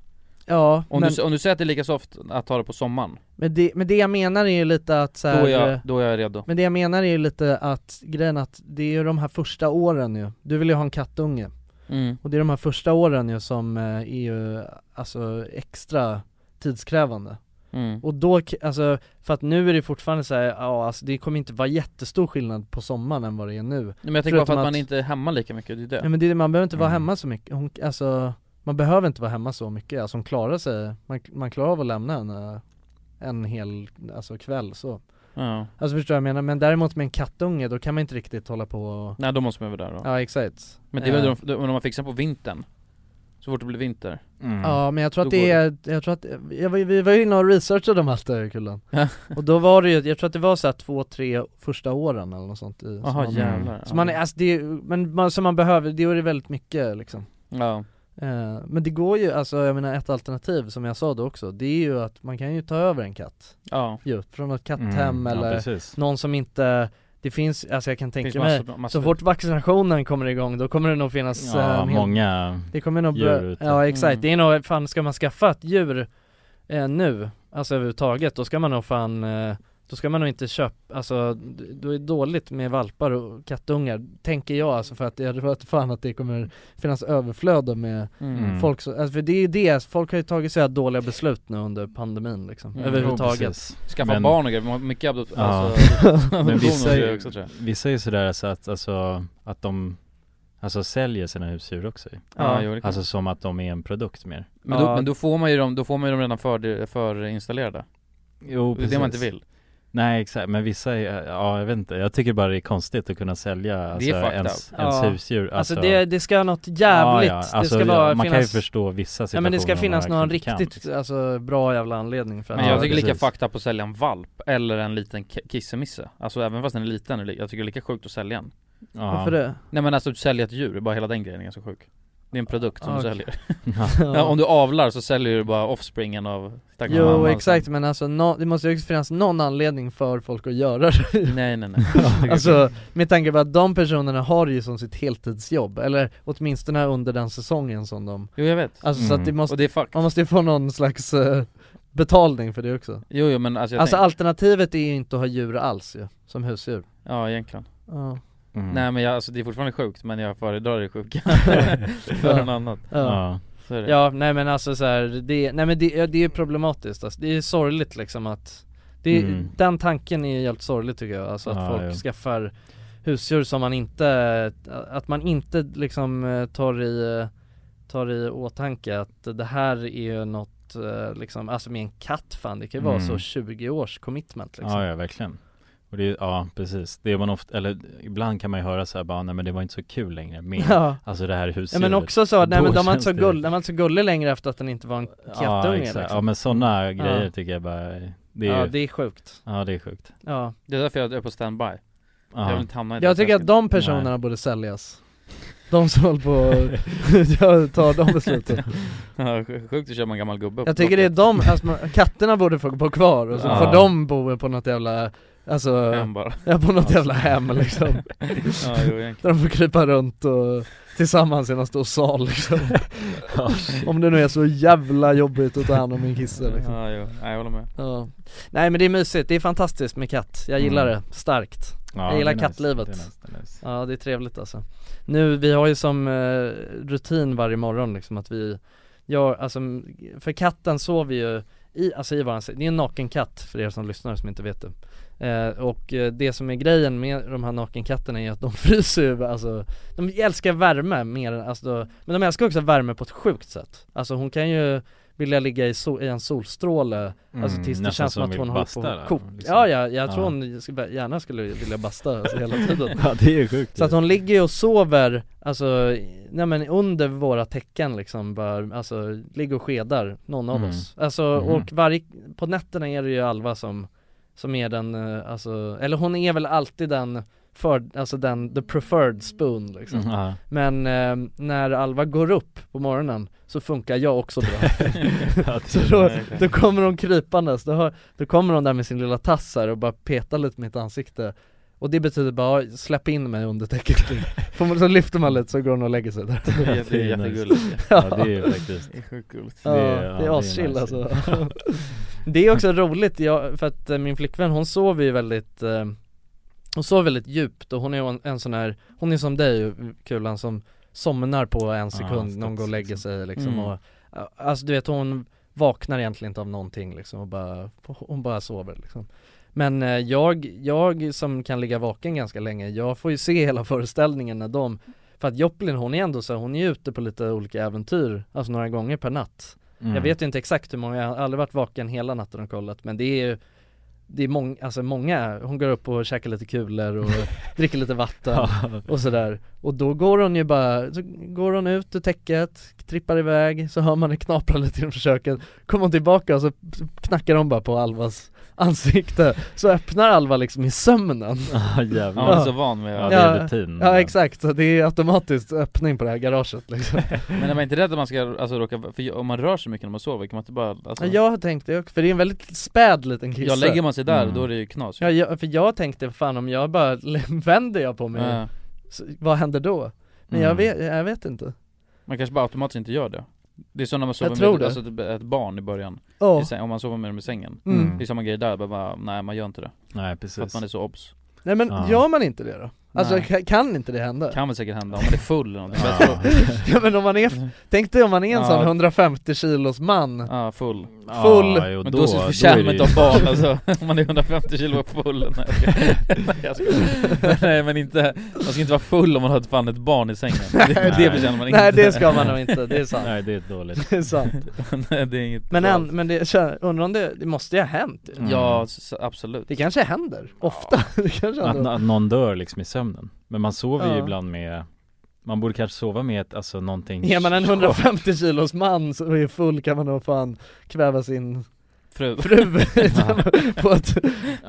S2: Ja,
S1: om,
S2: men-
S1: du, s- om du säger att det är lika soft att ha det på sommaren,
S2: Men det, men det jag menar är ju lite att så här,
S1: då, är jag,
S2: eh,
S1: då är jag redo
S2: Men det jag menar är ju lite att grejen att det är ju de här första åren ju, du vill ju ha en kattunge
S1: Mm.
S2: Och det är de här första åren ju som eh, är ju alltså extra tidskrävande
S1: Mm.
S2: Och då, k- alltså, för att nu är det fortfarande så här, ja alltså det kommer inte vara jättestor skillnad på sommaren än vad det är nu Nej,
S1: Men jag tänker bara för att, man inte är hemma lika mycket, det är det
S2: Ja, men det, är det, man behöver inte vara
S1: Mm.
S2: hemma så mycket, hon, alltså man behöver inte vara hemma så mycket, alltså hon klarar sig, man, man klarar av att lämna henne en hel, alltså kväll så
S1: Ja.
S2: Alltså förstår jag vad jag menar, men däremot med en kattunge då kan man inte riktigt hålla på och...
S1: Nej då måste man vara där då
S2: Ja exakt
S1: Men det är väl
S2: Eh,
S1: då de, om man fixar på vintern Så fort det blir vinter
S3: Mm.
S2: Ja men jag tror
S1: Då
S2: att det
S1: går
S2: är, jag tror att, jag, var- vi var ju inne och researchade om allt det här i kullen Och då var det ju, jag tror att det var så här två, tre första åren eller något sånt i
S1: Jaha,
S2: som man-
S1: jävlar.
S2: Så man, är- alltså det, är- men man, som man behöver, det gör det väldigt mycket liksom
S1: Ja.
S2: Eh, Men det går ju, alltså jag menar ett alternativ som jag sa då också, det är ju att man kan ju ta över en katt
S1: Ja.
S2: ju, Från något
S1: Mm,
S2: katthem
S1: ja,
S2: eller
S1: precis.
S2: någon som inte det finns, alltså jag kan tänka
S1: Finns
S2: mig,
S1: massor- massor.
S2: så fort vaccinationen kommer igång då kommer det nog finnas
S3: Ja,
S2: eh, en hel-
S3: många
S2: Det kommer nog
S3: djur
S2: börja,
S3: ute.
S2: ja exakt,
S3: Mm.
S2: det är nog, fan ska man skaffa ett djur eh, nu, alltså överhuvudtaget, då ska man nog fan eh, då ska man nog inte köpa, alltså d- då är det dåligt med valpar och kattungar, tänker jag alltså för att jag vet fan att det kommer finnas överflöde med
S1: Mm.
S2: folk som, alltså för det är ju det, folk har ju tagit så här dåliga beslut nu under pandemin liksom,
S1: Mm.
S2: överhuvudtaget
S1: Jo, precis. Skaffa barn och grejer, man har mycket abdot-
S3: Ja.
S1: alltså,
S3: Men
S1: adoptioner
S3: vissa
S1: och
S3: är
S1: grejer
S3: ju,
S1: också, tror
S3: vissa är ju sådär så att, alltså, att de Alltså säljer sina husdjur också ju.
S1: Ja, jo, det kan-
S3: Alltså som att de är en produkt mer
S1: Men, då, men då får man ju dem, då får man ju dem redan för, förinstallerade
S3: Jo,
S1: Det är det man inte vill
S3: Nej exakt, men vissa är, ja jag vet inte, jag tycker bara det är konstigt att kunna sälja alltså,
S1: fucked
S3: ens,
S1: up.
S3: ens
S2: Ja.
S3: husdjur
S2: Alltså, det, det ska något jävligt,
S3: eh, Ja, ja. Alltså,
S2: det ska vara,
S3: man kan ju
S2: finnas-
S3: förstå vissa
S2: Ja men det ska
S3: situationer
S2: finnas
S3: när man
S2: någon
S3: verkligen kan, liksom.
S2: riktigt, alltså bra jävla anledning för att
S1: Men jag tycker lika fucked up att sälja en valp eller en liten k- kissemisse Alltså även fast den är liten, är det li- jag tycker det är lika sjukt att sälja en
S3: Ja. Varför det?
S1: Nej men alltså att sälja ett djur, bara hela den grejen är ganska sjuk Det är en produkt som du
S2: Ah, Okej.
S1: säljer
S2: Ja.
S1: ja, Om du avlar så säljer du bara offspringen av stackars
S2: Jo
S1: mamman.
S2: exakt men alltså nå- det måste ju också finnas någon anledning för folk att göra det
S1: Nej nej nej
S2: Alltså med tanke på att de personerna har det ju som sitt heltidsjobb, eller åtminstone under den säsongen som de
S1: Jo jag vet
S2: Alltså så att det
S1: Mm.
S2: måste,
S1: Och det är fucked
S2: man måste ju få någon slags eh, betalning för det också
S1: Jo jo men alltså jag
S2: Alltså
S1: tänker-
S2: alternativet är ju inte att ha djur alls ju, som husdjur
S1: Ja egentligen
S2: Ja. Mm.
S1: Nej men jag, alltså det är fortfarande sjukt men jag föredrar det sjuka
S2: Ja.
S1: För någon annan
S2: Ja,
S1: Så är det.
S2: ja nej men alltså så här, det, nej men det, ja, det är ju problematiskt alltså. det är sorgligt liksom att det, är-
S3: Mm.
S2: Den tanken är jävligt sorglig tycker jag, alltså att
S3: Ja,
S2: folk
S3: ja.
S2: skaffar husdjur som man inte, att man inte liksom eh, tar i, tar i åtanke att det här är ju något eh, liksom, alltså med en katt fan det kan ju vara
S3: Mm.
S2: så 20 års commitment liksom
S3: Ja, ja verkligen. Och det, är- ja precis, det är man ofta, eller ibland kan man ju höra så här bara, nej men det var inte så kul längre med,
S2: Ja.
S3: alltså det här husdjuret.
S2: Ja, men också så, nej
S3: Då
S2: men de var
S3: känns
S2: inte så
S3: det-
S2: gull, de var inte så gullig längre efter att den inte var en
S3: Ja,
S2: kattunge
S3: exakt.
S2: liksom.
S3: ja men sådana
S2: Ja.
S3: grejer tycker jag bara, det är
S2: Ja,
S3: ju,
S2: det är sjukt.
S3: Ja det är sjukt.
S2: Ja.
S1: Det är därför jag är på standby Jag vill inte hamna i det
S2: Jag tycker att de personerna borde säljas De som håller på att ta de besluten
S1: Ja, sjukt att köpa en gammal gubbe
S2: Jag tycker det är de, alltså, man- katterna borde få bo kvar och så
S1: Ja.
S2: får de bo på något jävla Alltså,
S1: Hem bara.
S2: ja på något jävla hem liksom
S1: Ja, jo, egentligen.
S2: Där de får krypa runt och tillsammans i någon stor sal liksom Om det nu är så jävla jobbigt att ta hand om en kisse liksom
S1: Ja, jo. Nej, jag håller med
S2: Ja. Nej men det är mysigt, det är fantastiskt med katt. Jag gillar
S1: Mm.
S2: det starkt.
S1: Ja,
S2: jag gillar
S1: det är nice.
S2: kattlivet.
S1: Det är nice, det är nice.
S2: Ja det är trevligt alltså. Nu, vi har ju som eh, rutin varje morgon liksom att vi, jag, alltså m- för katten sover ju i, alltså i våran säng, det är en naken katt för er som lyssnar som inte vet det. Eh, och eh, det som är grejen med de här nakenkatterna är att de fryser ju, alltså de älskar värme mer än, alltså, då- men de älskar också värme på ett sjukt sätt. Alltså hon kan ju vilja ligga i, sol, i en solstråle, alltså
S3: Mm,
S2: tills det
S3: nästan
S2: känns som
S3: som
S2: att
S3: vill
S2: hon håller
S3: basta
S2: på
S3: där,
S2: att koka.
S3: liksom.
S2: Ja, ja, jag
S3: Ja.
S2: tror hon skulle- gärna skulle vilja basta alltså, hela tiden.
S3: Ja, det är ju sjukt
S2: Så
S3: ju.
S2: att hon ligger ju och sover, alltså, i- nej men under våra täcken liksom bara, alltså ligger och skedar, någon av
S3: Mm.
S2: oss Alltså
S3: Mhm.
S2: och varje, på nätterna är det ju Alva som, som är den, eh, alltså, eller hon är väl alltid den för, alltså den, the preferred spoon liksom.
S3: Mm, ja.
S2: Men eh, när Alva går upp på morgonen så funkar jag också då. så då, då kommer hon krypandes, då, har, då kommer hon där med sin lilla tass här och bara petar lite på mitt ansikte och det betyder bara, släpp in mig under täcket Får man- Så lyfter man lite så går hon och lägger sig där
S7: Det är jätte- jättegulligt.
S3: Ja, det är ju faktiskt
S7: Det är sjukt gulligt.
S2: Ja,
S3: Det
S2: det
S3: är- ja, det är
S2: är aschill
S3: nice.
S2: alltså Det är också roligt, jag, för att eh, min flickvän hon sover ju väldigt eh, Hon sover väldigt djupt och hon är ju en, en sån här, hon är som dig Kulan som somnar på en sekund när hon går och lägger sig liksom
S3: Mm.
S2: och eh, Alltså du vet hon vaknar egentligen inte av någonting liksom och bara, hon bara sover liksom men eh, jag, jag som kan ligga vaken ganska länge, jag får ju se hela föreställningen när de För att Joplin hon är ändå så här, hon är ute på lite olika äventyr, alltså några gånger per natt
S3: Mm.
S2: Jag vet ju inte exakt hur många, jag har aldrig varit vaken hela natten och kollat men det är ju Det är många, alltså många, hon går upp och käkar lite kulor och dricker lite vatten och sådär Och då går hon ju bara, så går hon ut ur täcket, trippar iväg, så hör man det knapra lite genom försöken Kommer hon tillbaka och så knackar hon bara på Alvas ansikte Så öppnar Alva liksom i sömnen
S3: Ja
S1: Ja, man är
S3: jävlar
S1: så van med
S3: Mm, Ja
S1: att
S3: det är rutin
S2: Ja exakt, så det är automatiskt öppning på det här garaget liksom
S1: Men är man inte rädd att man ska alltså, råka, för om man rör sig mycket när man sover kan man inte bara alltså,
S2: Jag har tänkt det också, för det är en väldigt späd liten kissa
S1: jag lägger man sig där
S3: Mm.
S1: då är det ju knas ju.
S2: Ja, jag, för jag tänkte fan om jag bara vänder jag på mig,
S1: Ja. Mm.
S2: så, vad händer då? Men
S3: Mm.
S2: jag, vet, jag vet inte
S1: Man kanske bara automatiskt inte gör det Det är så när man sover
S2: tror
S1: med
S2: det.
S1: alltså, typ ett barn i början,
S2: Ja,
S1: i säng, om man sover med dem i sängen
S2: mm.
S1: Det är samma grej där, bara, bara nej man gör inte det,
S3: Nej
S1: för att
S3: precis
S1: man är så obs
S2: Nej men
S3: Ja.
S2: gör man inte det då? Alltså
S1: Nej.
S2: ka- kan inte det hända?
S1: Kan väl säkert hända om man är full eller någonting, men jag
S3: Ja.
S1: tror-
S2: Ja men om man är, tänk dig om man är en
S1: Mm. Ja.
S2: sån 150 kilos man
S1: ja full
S2: full.
S3: Ja, jo,
S1: Men då, då
S3: är
S1: så förtjänar man
S3: det
S1: inte
S3: ju-
S1: ha barn alltså, om man är 150 kilo och full Nej jag skojar. Nej, jag skojar. Nej men inte, man ska inte vara full om man har ett, fan ett barn i sängen Det, det förtjänar man
S2: Nej
S1: inte
S2: det ska man nog inte, det är sant
S3: Nej det är dåligt
S2: Det är sant
S1: Nej, det är inget
S2: Men
S1: bra.
S2: än, men det, känner- undrar om det, det måste ju ha hänt ju.
S3: Mm.
S1: Ja, s- absolut
S2: Det kanske händer, ofta, det kanske
S3: Att,
S2: händer
S3: att någon dör liksom i sömnen Men man sover ju
S2: Ja.
S3: ibland med Man borde kanske sova med ett, alltså någonting
S2: Är man en 150 kilos man och är full kan man nog fan kväva sin
S1: Fru
S2: fru på ett,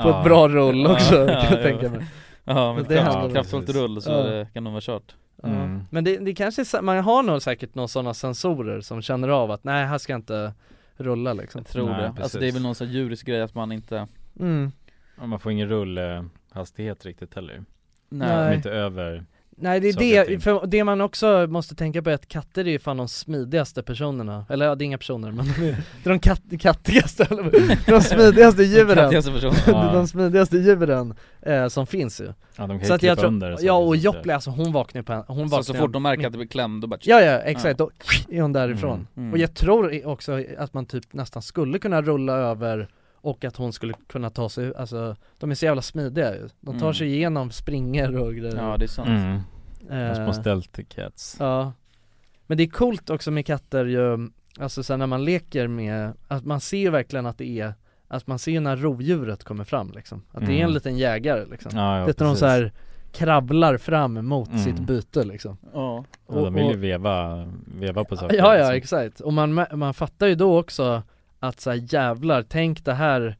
S2: på ett bra rull också
S1: Ja,
S2: kan jag
S1: ja,
S2: tänka
S1: ja.
S2: mig
S1: Ja men
S2: Det
S1: kraft-
S2: händer väl.
S1: kraftfullt rull så
S2: Ja.
S1: det kan nog vara kört
S2: Ja.
S3: Mm.
S2: Men det, det kanske, är sa- man har nog säkert några sådana sensorer som känner av att nej här ska jag inte rulla liksom
S1: Jag tror
S3: Nej,
S1: det, alltså
S3: precis.
S1: det är väl någon sån djurisk grej att man inte
S2: mm.
S3: Ja, Man får ingen rullhastighet riktigt heller
S2: Nej.
S3: De är inte över
S2: Nej det är
S3: Saker och
S2: det,
S3: ting.
S2: för det man också måste tänka på är att katter är ju fan de smidigaste personerna, eller ja, det är inga personer men de är det är de kat, kattigaste, eller vad- de smidigaste djuren
S1: Kattigaste personen
S2: Det är de smidigaste djuren eh, som finns ju
S3: Ja de kan
S2: Så
S3: ju
S2: att jag
S3: krypa
S2: tror,
S3: under
S2: ja och
S3: samtidigt.
S2: Joplin alltså hon vaknar ju på en, hon vaknar
S1: Så, så fort de märker att det blir klämd då bara
S2: Ja ja, exakt, då är hon därifrån
S1: Mm.
S2: Och jag tror i- också att man typ nästan skulle kunna rulla över och att hon skulle kunna ta sig ur- alltså de är så jävla smidiga ju. De tar
S1: Mm.
S2: sig igenom springer och grejer
S1: Ja det är sant
S3: mm. De
S2: Eh,
S3: små stealth cats
S2: Ja Men det är coolt också med katter ju, alltså sen när man leker med, att man ser ju verkligen att det är, att man ser ju när rovdjuret kommer fram liksom Att det är en
S3: Mm.
S2: liten jägare liksom
S3: Ja, ja
S2: Vet du, de
S3: precis.
S2: så här kravlar fram mot
S3: Mm.
S2: sitt byte liksom
S1: Ja,
S3: ja, De vill ju veva, veva på saker
S2: Ja ja
S3: liksom.
S2: exakt, och man, mä- man fattar ju då också att så här, jävlar, tänk det här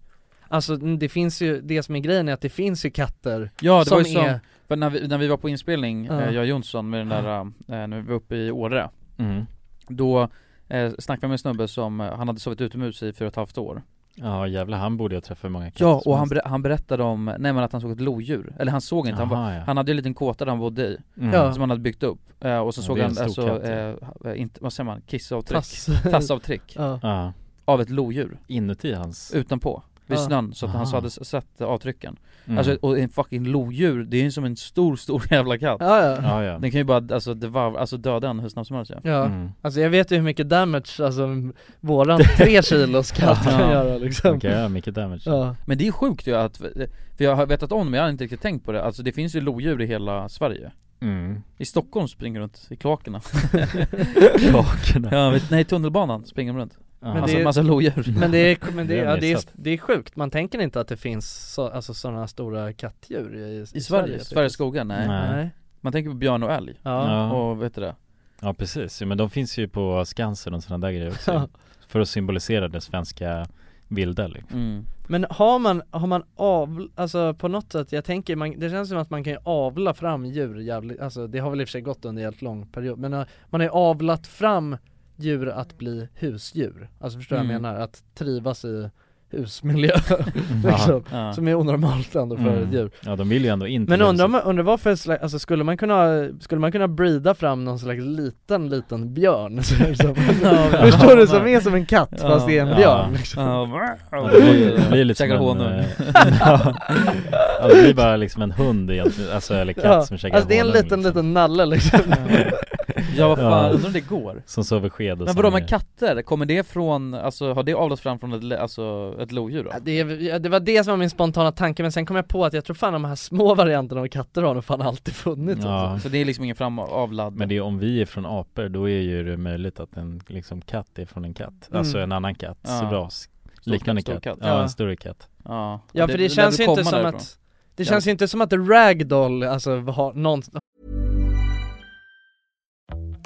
S2: Alltså mm, det finns ju, det som är grejen är att det finns ju katter
S1: ja det
S2: som,
S1: var ju som,
S2: är,
S1: för när, vi, när vi var på inspelning,
S2: Ja.
S1: eh, jag och Jonsson med den där, eh, när vi var uppe i Åre
S3: mm.
S1: Då eh, snackade jag med en snubbe som, eh, han hade sovit utomhus i fyra och ett halvt år
S3: Ja jävlar han borde ju träffa många katter
S1: Ja
S3: som
S1: och han,
S3: helst.
S1: ber- han berättade om, nej men att han såg ett lodjur, eller han såg inte, han, var,
S3: Aha, ja.
S1: han hade ju en liten kåta där han bodde i
S3: Mm.
S2: Ja.
S1: Som han hade byggt upp, eh, och så
S3: Ja,
S1: såg
S3: det är
S1: han
S3: en stor
S1: alltså,
S3: katt,
S1: eh, inte, vad säger man, kissavtryck?
S2: tass,
S1: Tassavtryck
S2: ja.
S3: ja.
S1: av ett lodjur,
S3: Inuti hans
S1: utanpå, vid
S2: Ja.
S1: snön, så att han så
S3: Aha.
S1: hade s- sett avtrycken
S3: mm.
S1: Alltså, och en fucking lodjur, det är ju som en stor, stor jävla katt
S2: ja ja,
S3: Ja ja
S1: Den kan ju bara, alltså, devar, alltså döda en hur snabbt som helst ja.
S2: ja.
S3: Mm.
S2: Alltså jag vet ju hur mycket damage, alltså våran tre kilos katt kan
S1: Ja.
S2: göra liksom
S3: Han kan göra mycket damage
S2: Ja,
S1: Men det är sjukt ju att, för jag har vetat om det men jag har inte riktigt tänkt på det, alltså det finns ju lodjur i hela Sverige
S3: mm.
S1: I Stockholm springer de runt, i kloakerna
S3: Kakorna
S1: ja, vet- Nej, i tunnelbanan springer de runt,
S3: Ja. alltså,
S2: Men
S1: massa,
S2: det-
S1: massa lodjur
S2: men det är, men det,
S3: Det har
S2: är, ja,
S3: jag
S2: det, är,
S3: missat.
S2: det är sjukt, man tänker inte att det finns så, alltså sådana stora kattdjur i, typ.
S1: I Sverige, Sveriges skogar? Nej.
S3: Nej.
S2: Nej,
S1: Man tänker på björn och älg
S2: ja,
S1: och vet du det?
S3: Ja precis, ja, men de finns ju på Skansen och sådana där grejer också
S2: Ja.
S3: För att symbolisera det svenska vilda liksom.
S1: Mm.
S2: Men har man, har man av, alltså på något sätt, jag tänker, man, det känns som att man kan ju avla fram djur jävligt, alltså det har väl i och för sig gått under en helt lång period, men eh, man har ju avlat fram djur att bli husdjur, alltså förstår du vad jag
S1: Mm.
S2: menar? Att trivas i husmiljö
S8: Ja,
S2: liksom,
S8: ja.
S2: som är onormalt ändå för
S8: Mm.
S2: ett djur
S8: Ja, de vill ju ändå inte
S2: Men
S8: det.
S2: undrar, om- undrar vad för slags, alltså skulle man kunna, skulle man kunna breeda fram någon slags liten, liten björn som, Förstår du? Som är som en katt fast det är en björn liksom.
S8: Ja, det blir, det blir lite
S1: Käkar
S8: som en,
S1: honung.
S8: eh, ja. ja, det blir bara liksom en hund egentligen, alltså eller katt
S2: Ja,
S8: som käkar
S2: Alltså det är en
S8: honung,
S2: liten, liten nalle liksom
S1: Ja vad fan, undrar om det går?
S8: Som sover sked och
S1: Men vadå
S8: sen-
S1: med katter, kommer det från, alltså har det avlats fram från ett, le- alltså, ett lodjur då?
S2: Ja, det, är- ja, det var det som var min spontana tanke men sen kom jag på att jag tror fan de här små varianterna av katter har nog fan alltid funnits alltså.
S8: Ja.
S1: Så det är liksom ingen framavlad?
S8: Men det är om vi är från apor, då är ju det möjligt att en liksom katt är från en katt Alltså
S2: Mm.
S8: en annan katt,
S1: Ja.
S8: ras,
S1: Stor-
S8: liknande
S1: stor
S8: katt.
S1: katt.
S8: Ja,
S2: Ja.
S8: en större katt
S1: Ja,
S2: Ja för det, känns ju inte som att Det känns ju inte som att ragdoll, alltså har någon,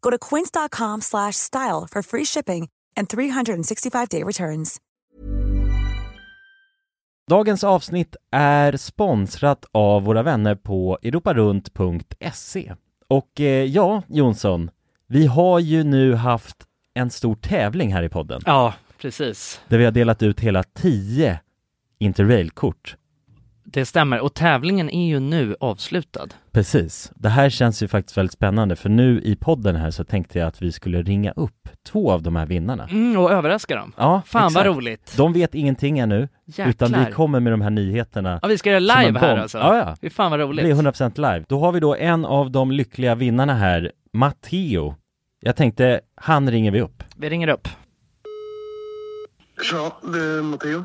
S9: Go to quince.com slash style for free shipping and 365-day returns.
S8: Dagens avsnitt är sponsrat av våra vänner på europarunt.se Och eh, ja, Jonsson, vi har ju nu haft en stor tävling här i podden
S10: Ja, precis.
S8: Där vi har delat ut hela 10 Interrail-kort
S10: Det stämmer, och tävlingen är ju nu avslutad.
S8: Precis. Det här känns ju faktiskt väldigt spännande för nu i podden här så tänkte jag att vi skulle ringa upp två av de här vinnarna.
S10: Mm, och överraska dem.
S8: Ja,
S10: Fan, vad
S8: exakt.
S10: roligt.
S8: De vet ingenting ännu,
S10: Jäklar.
S8: utan vi kommer med de här nyheterna.
S10: Ja, vi ska göra
S8: som en
S10: live här
S8: bomb.
S10: alltså.
S8: Ja, ja.
S10: Fy fan vad
S8: Det
S10: roligt.
S8: blir 100% live. Då har vi då en av de lyckliga vinnarna här, Matteo. Jag tänkte, han ringer vi upp.
S10: Vi ringer upp.
S11: Ja, det är Matteo.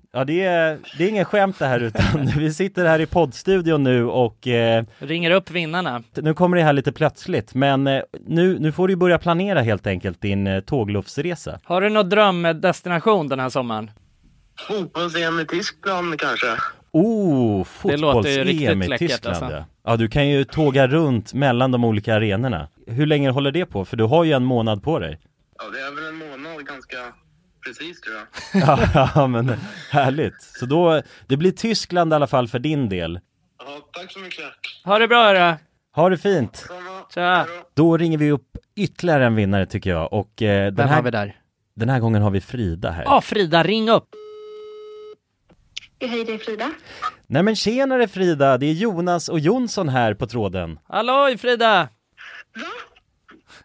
S8: Ja, det är, det är ingen skämt det här utan vi sitter här i poddstudion nu och eh,
S10: Ringer upp vinnarna.
S8: nu kommer det här lite plötsligt men eh, nu, nu får du ju börja planera helt enkelt din eh, tågluffsresa.
S10: Har du någon drömdestination den här sommaren?
S11: Fotbolls-EM i Tyskland kanske?
S8: Oh,
S10: Det låter ju
S8: fotbolls-EM
S10: riktigt
S8: i
S10: läckert,
S8: Tyskland
S10: alltså.
S8: ja. ja, du kan ju tåga runt mellan de olika arenorna. Hur länge håller det på? För du har ju en månad på dig.
S11: Ja, det är väl en månad ganska precis tror jag.
S8: Ja, ja, men härligt. Så då, det blir Tyskland i alla fall för din del.
S10: Ha det bra hörru.
S8: Ha det fint!
S10: Tja.
S8: Då ringer vi upp ytterligare en vinnare tycker jag och eh, den,
S10: Vem
S8: här,
S10: har vi där?
S8: den här gången har vi Frida här.
S10: Ja Frida, ring upp.
S12: Hej, det är Frida.
S8: Nej men tjenare Frida, det är Jonas och Jonsson här på tråden.
S10: Halloj Frida!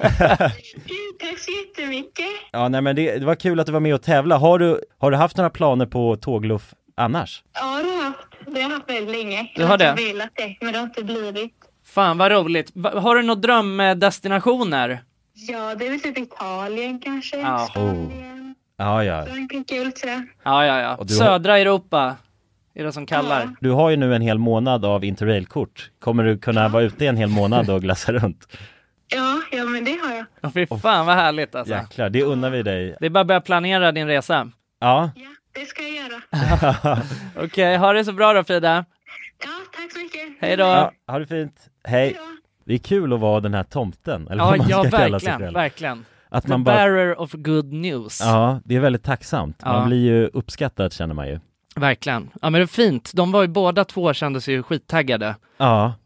S11: Tack så jättemycket.
S8: Ja, nej men det, det var kul att du var med och tävla. Har du, har du haft några planer på tågluff annars?
S11: Ja, det har jag haft. Det har jag haft väldigt länge.
S2: Du har
S11: Jag
S2: det?
S11: velat det, men det har inte blivit.
S2: Fan vad roligt. Va- Har du några drömdestinationer?
S11: Ja, det är väl typ Italien kanske.
S2: Ja.
S8: Ja, ja.
S11: Frankrike och lite sådär.
S2: Ja, ja, ja.
S8: Och du har-
S2: Södra Europa är det som kallar.
S8: Du har ju nu en hel månad av interrailkort. Kommer du kunna vara ute i en hel månad och glassa runt?
S11: Ja, ja men det har jag.
S2: Ja, fy fan vad härligt alltså.
S8: Jäklar, det unnar vi dig.
S2: Det är bara att börja planera din resa.
S8: Ja.
S11: Det ska jag göra.
S2: Okej, ha det så bra då Frida.
S11: Tack så mycket.
S2: Hej då.
S8: Ja, ha det fint. Hej. Det är kul att vara den här tomten, eller
S2: Ja,
S8: vad man
S2: ja
S8: ska kalla sig
S2: verkligen,
S8: själv.
S2: verkligen.
S8: Att
S2: The
S8: man bara-
S2: bearer of good news.
S8: Ja, det är väldigt tacksamt. Man
S2: Ja.
S8: blir ju uppskattad känner man ju.
S2: Verkligen. Ja men det är fint. De var ju båda två kändes ju skittaggade.
S8: Ja.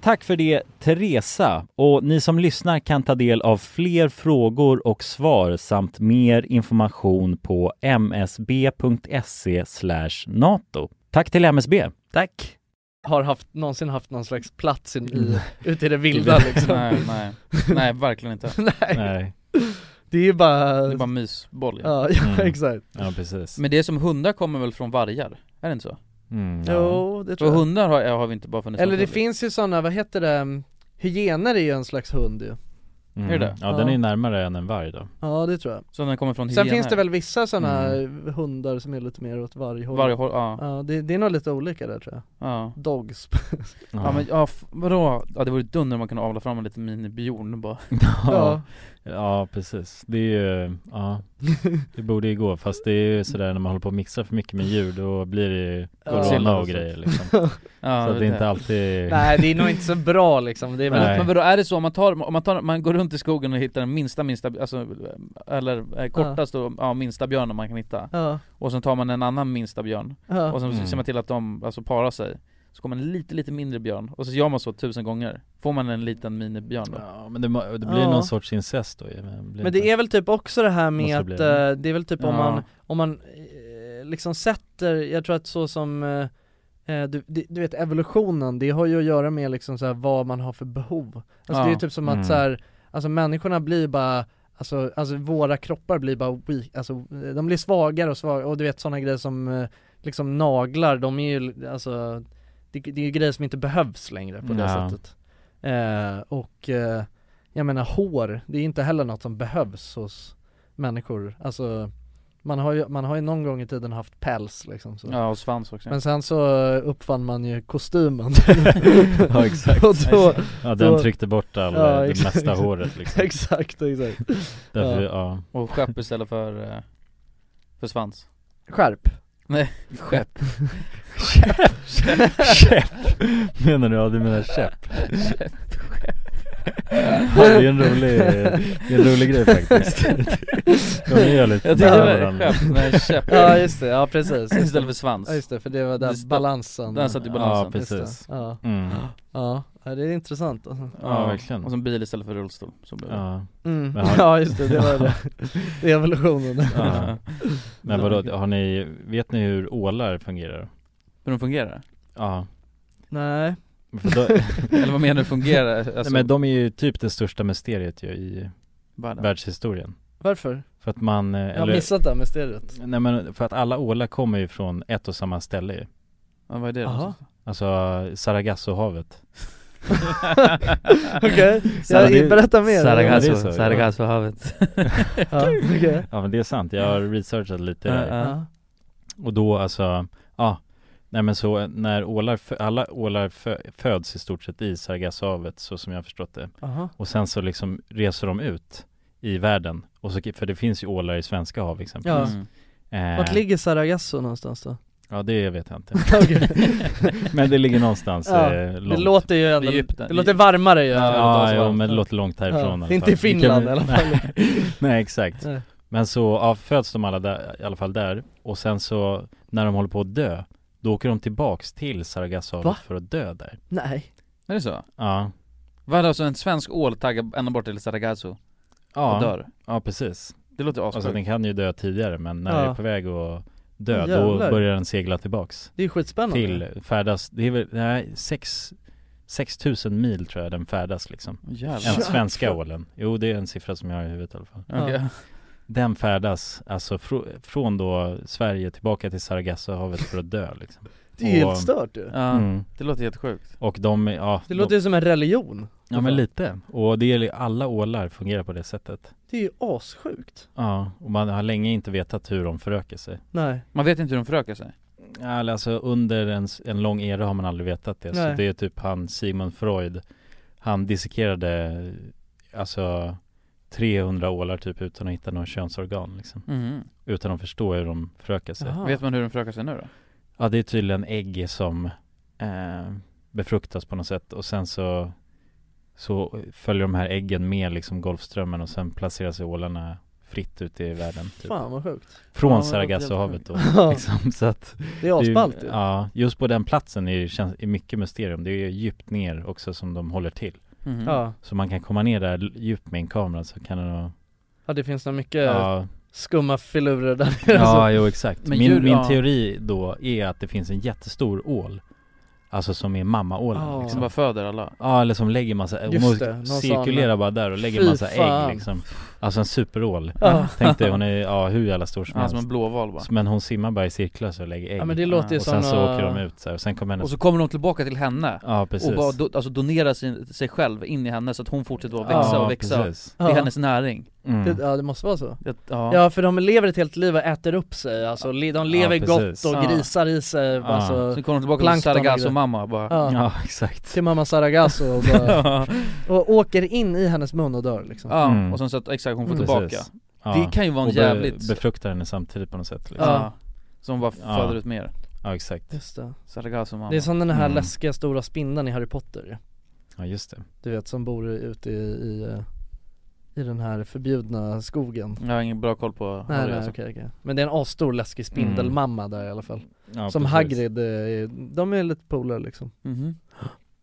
S8: Tack för det Teresa och ni som lyssnar kan ta del av fler frågor och svar samt mer information på msb.se E NATO. Tack till MSB.
S3: Tack. Har haft, någonsin haft någon slags plats i,
S1: Mm.
S3: i, ute i det vilda liksom
S1: Nej, nej. Nej, verkligen inte.
S3: nej.
S1: Nej.
S3: Det är ju bara
S1: Det är bara mysboll ju.
S3: Ja, ja
S1: Mm.
S3: exakt
S8: Ja, precis.
S1: Men det är som hundar kommer väl från vargar? Är det inte så?
S8: Mm,
S3: ja. Jo, det tror
S1: Och
S3: jag.
S1: hundar har, har vi inte bara funnits
S3: Eller det
S1: naturligt.
S2: mm,
S3: finns ju sådana, vad heter det, hyener är ju en slags hund ju Mm.
S1: Är det det?
S3: Ja, den är ju närmare än en varg då
S2: Ja det tror jag
S7: Så den kommer från
S2: Sen
S7: hyenor.
S2: finns det väl vissa sådana hundar som är lite mer åt varghåll
S7: Varghåll, ja.
S2: det, det är nog lite olika där tror jag
S7: Ja.
S2: Dogs
S7: Ja, men ja, f- vadå? Ja det vore dunder om man kunde avla fram en liten minibjorn bara
S3: Ja, ja precis. Det är ju, ja Det borde ju gå, fast det är ju sådär när man håller på och mixar för mycket med djur då blir det ju corona och grejer liksom Så att det är inte alltid
S2: bra liksom, det
S3: är väl- Nej.
S7: Men vadå, är det så om man tar, om man tar, man går runt i skogen och hittar den minsta minsta, alltså, eller eh, kortast och ja, minsta björnen man kan hitta
S2: Ja.
S7: Och sen tar man en annan minsta björn,
S2: Ja.
S7: och sen
S2: Mm.
S7: ser man till att de, alltså parar sig Så kommer en lite, lite mindre björn, och så gör man så tusen gånger Får man en liten minibjörn då?
S3: Ja men det, må- det blir
S2: Ja.
S3: någon sorts incest då ju, men blir
S2: Men det
S3: inte-
S2: är väl typ också det här med
S3: Måste
S2: att,
S3: bli.
S2: eh, det är väl typ om
S3: Ja.
S2: man, om man eh, liksom sätter, jag tror att så som eh, eh, du, du du vet evolutionen, det har ju att göra med liksom så här vad man har för behov Alltså
S7: Ja.
S2: det är ju typ som att
S7: Mm.
S2: så här, alltså människorna blir bara Alltså, alltså våra kroppar blir bara weak, alltså eh, de blir svagare och svagare och du vet sådana grejer som eh, liksom naglar, de är ju alltså det, det är ju grejer som inte behövs längre på det
S3: Ja.
S2: sättet eh, Och eh, jag menar hår, det är inte heller något som behövs hos människor Alltså man har ju, man har ju någon gång i tiden haft päls liksom så.
S7: Ja, och svans också.
S2: Men sen så uppfann man ju kostymen
S3: Ja, exakt.
S2: Och då,
S3: Ja, den
S2: då-
S3: tryckte bort all- eh, det
S2: exakt.
S3: mesta håret, liksom.
S2: Exakt, exakt
S3: Därför, ja.
S7: Och skepp istället för, eh, för svans
S2: Skärp
S7: Nej, skepp
S3: Käpp! Menar du? Ja du menar käpp?
S7: Käpp,
S3: Ja, det är en rolig, det är en rolig grej faktiskt De är ju lite
S2: Jag tycker
S3: nära
S2: det är
S3: varandra.
S2: skämt, nej, käpp. Ja, just det, ja, precis.
S7: Istället för svans
S2: Ja just det, för det var där
S7: Det satt-
S2: balansen
S7: Där satt ju
S3: Ja,
S7: balansen
S3: precis.
S2: Just det, Ja.
S3: Mm.
S2: ja, ja det är intressant alltså.
S3: Ja, verkligen.
S7: Och som bil istället för rullstol så blev det.
S3: Ja.
S2: Mm. Ja just det, det var det. Det är evolutionen
S3: Ja. Men vadå, har ni, vet ni hur ålar fungerar?
S7: Hur de fungerar?
S3: Ja
S2: Nej
S3: För då-
S7: Eller vad menar du fungerar? Alltså-
S3: Nej men de är ju typ det största mysteriet ju i
S7: Världen.
S3: världshistorien
S2: Varför?
S3: För att man, eh, eller,
S2: Jag har missat det här mysteriet
S3: Nej men för att alla ålar kommer ju från ett och samma ställe ju
S7: Ja vad är det då?
S2: Aha.
S3: Alltså Sargassohavet
S2: Okej,
S3: Sara-
S2: jag- berätta mer.
S3: Sargasso,
S2: Ja, det är så, ja.
S3: Sargassohavet
S2: Ja, okej.
S3: Ja men det är sant, jag har researchat lite
S2: Ja,
S3: där.
S2: ja.
S3: Och då alltså, ja Nej men så när ålar, fö- alla ålar fö, föds i stort sett i Sargassohavet så som jag har förstått det
S2: Aha.
S3: Och sen så liksom reser de ut i världen och så, för det finns ju ålar i svenska hav
S2: Ja.
S3: exempelvis
S2: Mm.
S3: Eh,
S2: Vart ligger Saragasso någonstans då?
S3: Ja det vet jag inte
S2: Okej.
S3: Men det ligger någonstans
S2: Ja,
S3: eh,
S2: det
S3: långt
S2: låter ju ändå-
S3: Egypten.
S2: det låter varmare ju än att det var
S3: Ja,
S2: så
S3: ja,
S2: varmt.
S3: men det låter långt härifrån
S2: Ja,
S3: i alla
S2: inte i
S3: fall. Vi
S2: Finland i alla fall.
S3: Nej, nej exakt
S2: Nej.
S3: Men så ja, föds de alla där, i alla fall där Och sen så när de håller på att dö Då åker de tillbaks till
S2: Va?
S3: Sargassohavet för att dö där
S2: Nej
S7: Är det så?
S3: Ja
S7: Vadå, alltså en svensk ål taggar ända bort till Sargasso?
S3: Ja,
S7: Och dör?
S3: ja precis
S7: Det låter assjukt.
S3: Alltså den kan ju dö tidigare men när
S7: Ja.
S3: den är på väg att dö
S7: Jävlar.
S3: då börjar den segla tillbaks
S2: Det är ju skitspännande.
S3: Till, färdas, det är väl, nej, sex 6000 mil tror jag den färdas liksom
S7: Jävlar.
S3: En svenska ålen, jo det är en siffra som jag har i huvudet i alla fall
S7: Okej. Ja.
S3: Den färdas alltså fr- från då Sverige tillbaka till Sargassohavet för att dö liksom
S2: Det är ju
S3: Och-
S2: helt stört ju
S7: Ja,
S3: Mm.
S7: det låter jättesjukt
S3: Och de, ja
S2: Det låter ju som en religion
S3: de, Ja men lite, och det gäller alla ålar fungerar på det sättet
S2: Det är ju assjukt
S3: Ja, och man har länge inte vetat hur de förökar sig
S2: Nej.
S7: Man vet inte hur de förökar sig?
S3: Ja, eller Alltså under en, s- en lång era har man aldrig vetat det,
S7: Nej.
S3: så det är typ han Sigmund Freud Han dissekerade alltså 300 ålar typ utan att hitta några könsorgan liksom
S2: Mm-hmm.
S7: Mhm.
S3: Utan att förstå hur de förökar sig
S7: Vet man hur de förökar sig nu då?
S3: Ja det är tydligen ägg som eh, befruktas på något sätt och sen så så följer de här äggen med liksom Golfströmmen och sen placerar sig ålarna fritt ute i världen typ.
S2: Fan, vad sjukt.
S3: Från
S2: Ja, det låter
S3: Sargassohavet då
S2: helt sjukt. Ja.
S3: liksom, så att
S2: Det är asballt ju.
S3: ju Ja, just på den platsen är, det känns, är mycket mysterium Det är ju djupt ner också som de håller till
S7: Mm-hmm.
S2: Mhm. Ja.
S3: Så man kan komma ner där l- djupt med en kamera så kan den ha-
S2: Ja det finns nog mycket
S3: Ja.
S2: skumma filurer där nere
S3: Ja,
S2: alltså.
S3: jo exakt. min min teori då är att det finns en jättestor ål Alltså som är mammaålen
S7: Ja.
S3: liksom.
S7: Som bara föder alla?
S3: Ja eller som lägger massa,
S7: Just
S3: hon
S7: det, någon
S3: cirkulerar
S7: sån.
S3: bara där och lägger
S7: Fy
S3: massa
S7: fan.
S3: ägg liksom Alltså en superål
S2: Ja.
S3: Tänk dig, hon är ja, hur jävla stor som
S7: Ja, som en blåval bara.
S3: bara Men hon simmar bara i cirklar så och lägger ägg
S1: Ja, men det låter ju
S3: Och
S1: som
S3: sen så
S1: några-
S3: åker de ut så här, och sen kommer hennes
S1: Och så kommer de tillbaka till henne
S3: Ja, precis.
S1: och bara do, alltså donera sin, sig själv in i henne så att hon fortsätter att växa
S3: Ja,
S1: och växa
S3: precis. Mm.
S1: Det är
S2: Ja.
S1: hennes näring
S2: Det, ja det måste vara så
S1: Det-
S2: ja.
S1: ja.
S2: för de lever ett helt liv och äter upp sig alltså, le- de lever gott
S1: precis.
S2: och
S1: Ja.
S2: grisar i sig
S1: Ja.
S2: alltså,
S1: Sen kommer de tillbaka till
S2: plankton och
S1: Sargasso
S2: grejer.
S1: mamma bara. Ja, exakt.
S2: Till mamma Sargasso och, bara,
S1: Ja.
S2: och åker in i hennes mun och dör liksom
S1: Ja, Mm. och sen så att- exakt, hon får tillbaka. Det kan ju vara en
S3: och be-
S1: jävligt-
S3: befruktar henne samtidigt på något sätt liksom.
S1: Ja. Så hon bara föder ut mer.
S3: Ja exakt
S2: Just det.
S1: Sargasso mamma
S2: Det är som den här
S3: Mm.
S2: läskiga stora spindeln i Harry Potter ju.
S3: Ja just det
S2: Du vet som bor ute i, i, eh, i den här förbjudna skogen
S1: Jag har ingen bra koll på
S2: Nej
S1: Harry
S2: nej
S1: alltså.
S2: okej okej, men det är en asstor läskig spindelmamma där i alla fall
S1: Mm. Ja,
S2: Som
S1: precis.
S2: Hagrid, eh, är- de är lite polare liksom
S1: Mhm.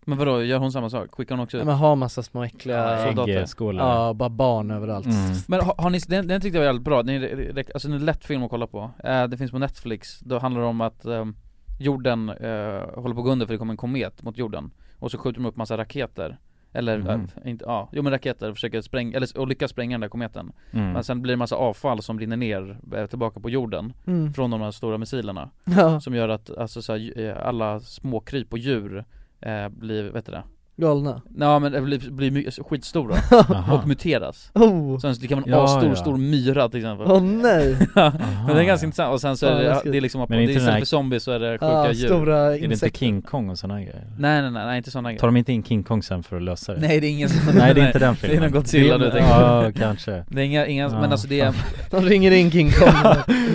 S1: Men vadå, gör hon samma sak? Skickar hon också
S2: Ja, men har massa små äckliga
S1: Ja, Mm. soldater.
S2: Ja, bara barn överallt
S1: Men har, har ni, den, den tyckte jag var jävligt bra, den är, re- re- alltså, den är en lätt film att kolla på. Eh, det finns på Netflix, då handlar det om att ehm, jorden eh, håller på att gå under för det kommer en komet mot jorden. Och så skjuter de upp massa raketer. Eller,
S3: Mhm.
S1: eh, inte, ja, jo men raketer och försöker spränga, eller, s- och lyckas spränga den där kometen.
S3: Mm.
S1: Men sen blir det massa avfall som rinner ner eh, tillbaka på jorden.
S2: Mm.
S1: Från de här stora missilerna.
S2: Ja.
S1: Som gör att alltså, så här, ju- eh, alla småkryp och djur eh, blir, vet du det?
S2: Galna
S1: Ja men det blir, blir my- skitstora
S2: Jaha.
S1: och muteras
S2: Oh.
S1: Sen så kan man
S2: Ja,
S1: ha stor,
S2: ja.
S1: stor myra till exempel
S2: Åh, nej.
S1: Men det är ganska intressant, och sen så
S2: Fan,
S1: är det,
S2: läskigt.
S1: det är liksom,
S3: Men
S1: det är
S3: inte den
S1: istället
S3: här-
S1: för zombies så är det sjuka
S2: Ja,
S1: djur
S2: stora
S3: Är det inte King Kong och sådana grejer?
S1: Nej nej nej, nej inte sådana grejer
S3: Tar de inte in King Kong sen för att lösa det?
S1: Nej det är ingen sån
S3: Nej det är inte den filmen
S1: Det är någon Godzilla
S3: Det
S1: du
S3: är-
S1: tänker
S3: Ja kanske
S1: Det är inga, inga
S3: Ja,
S1: men alltså det är
S2: De ringer in King Kong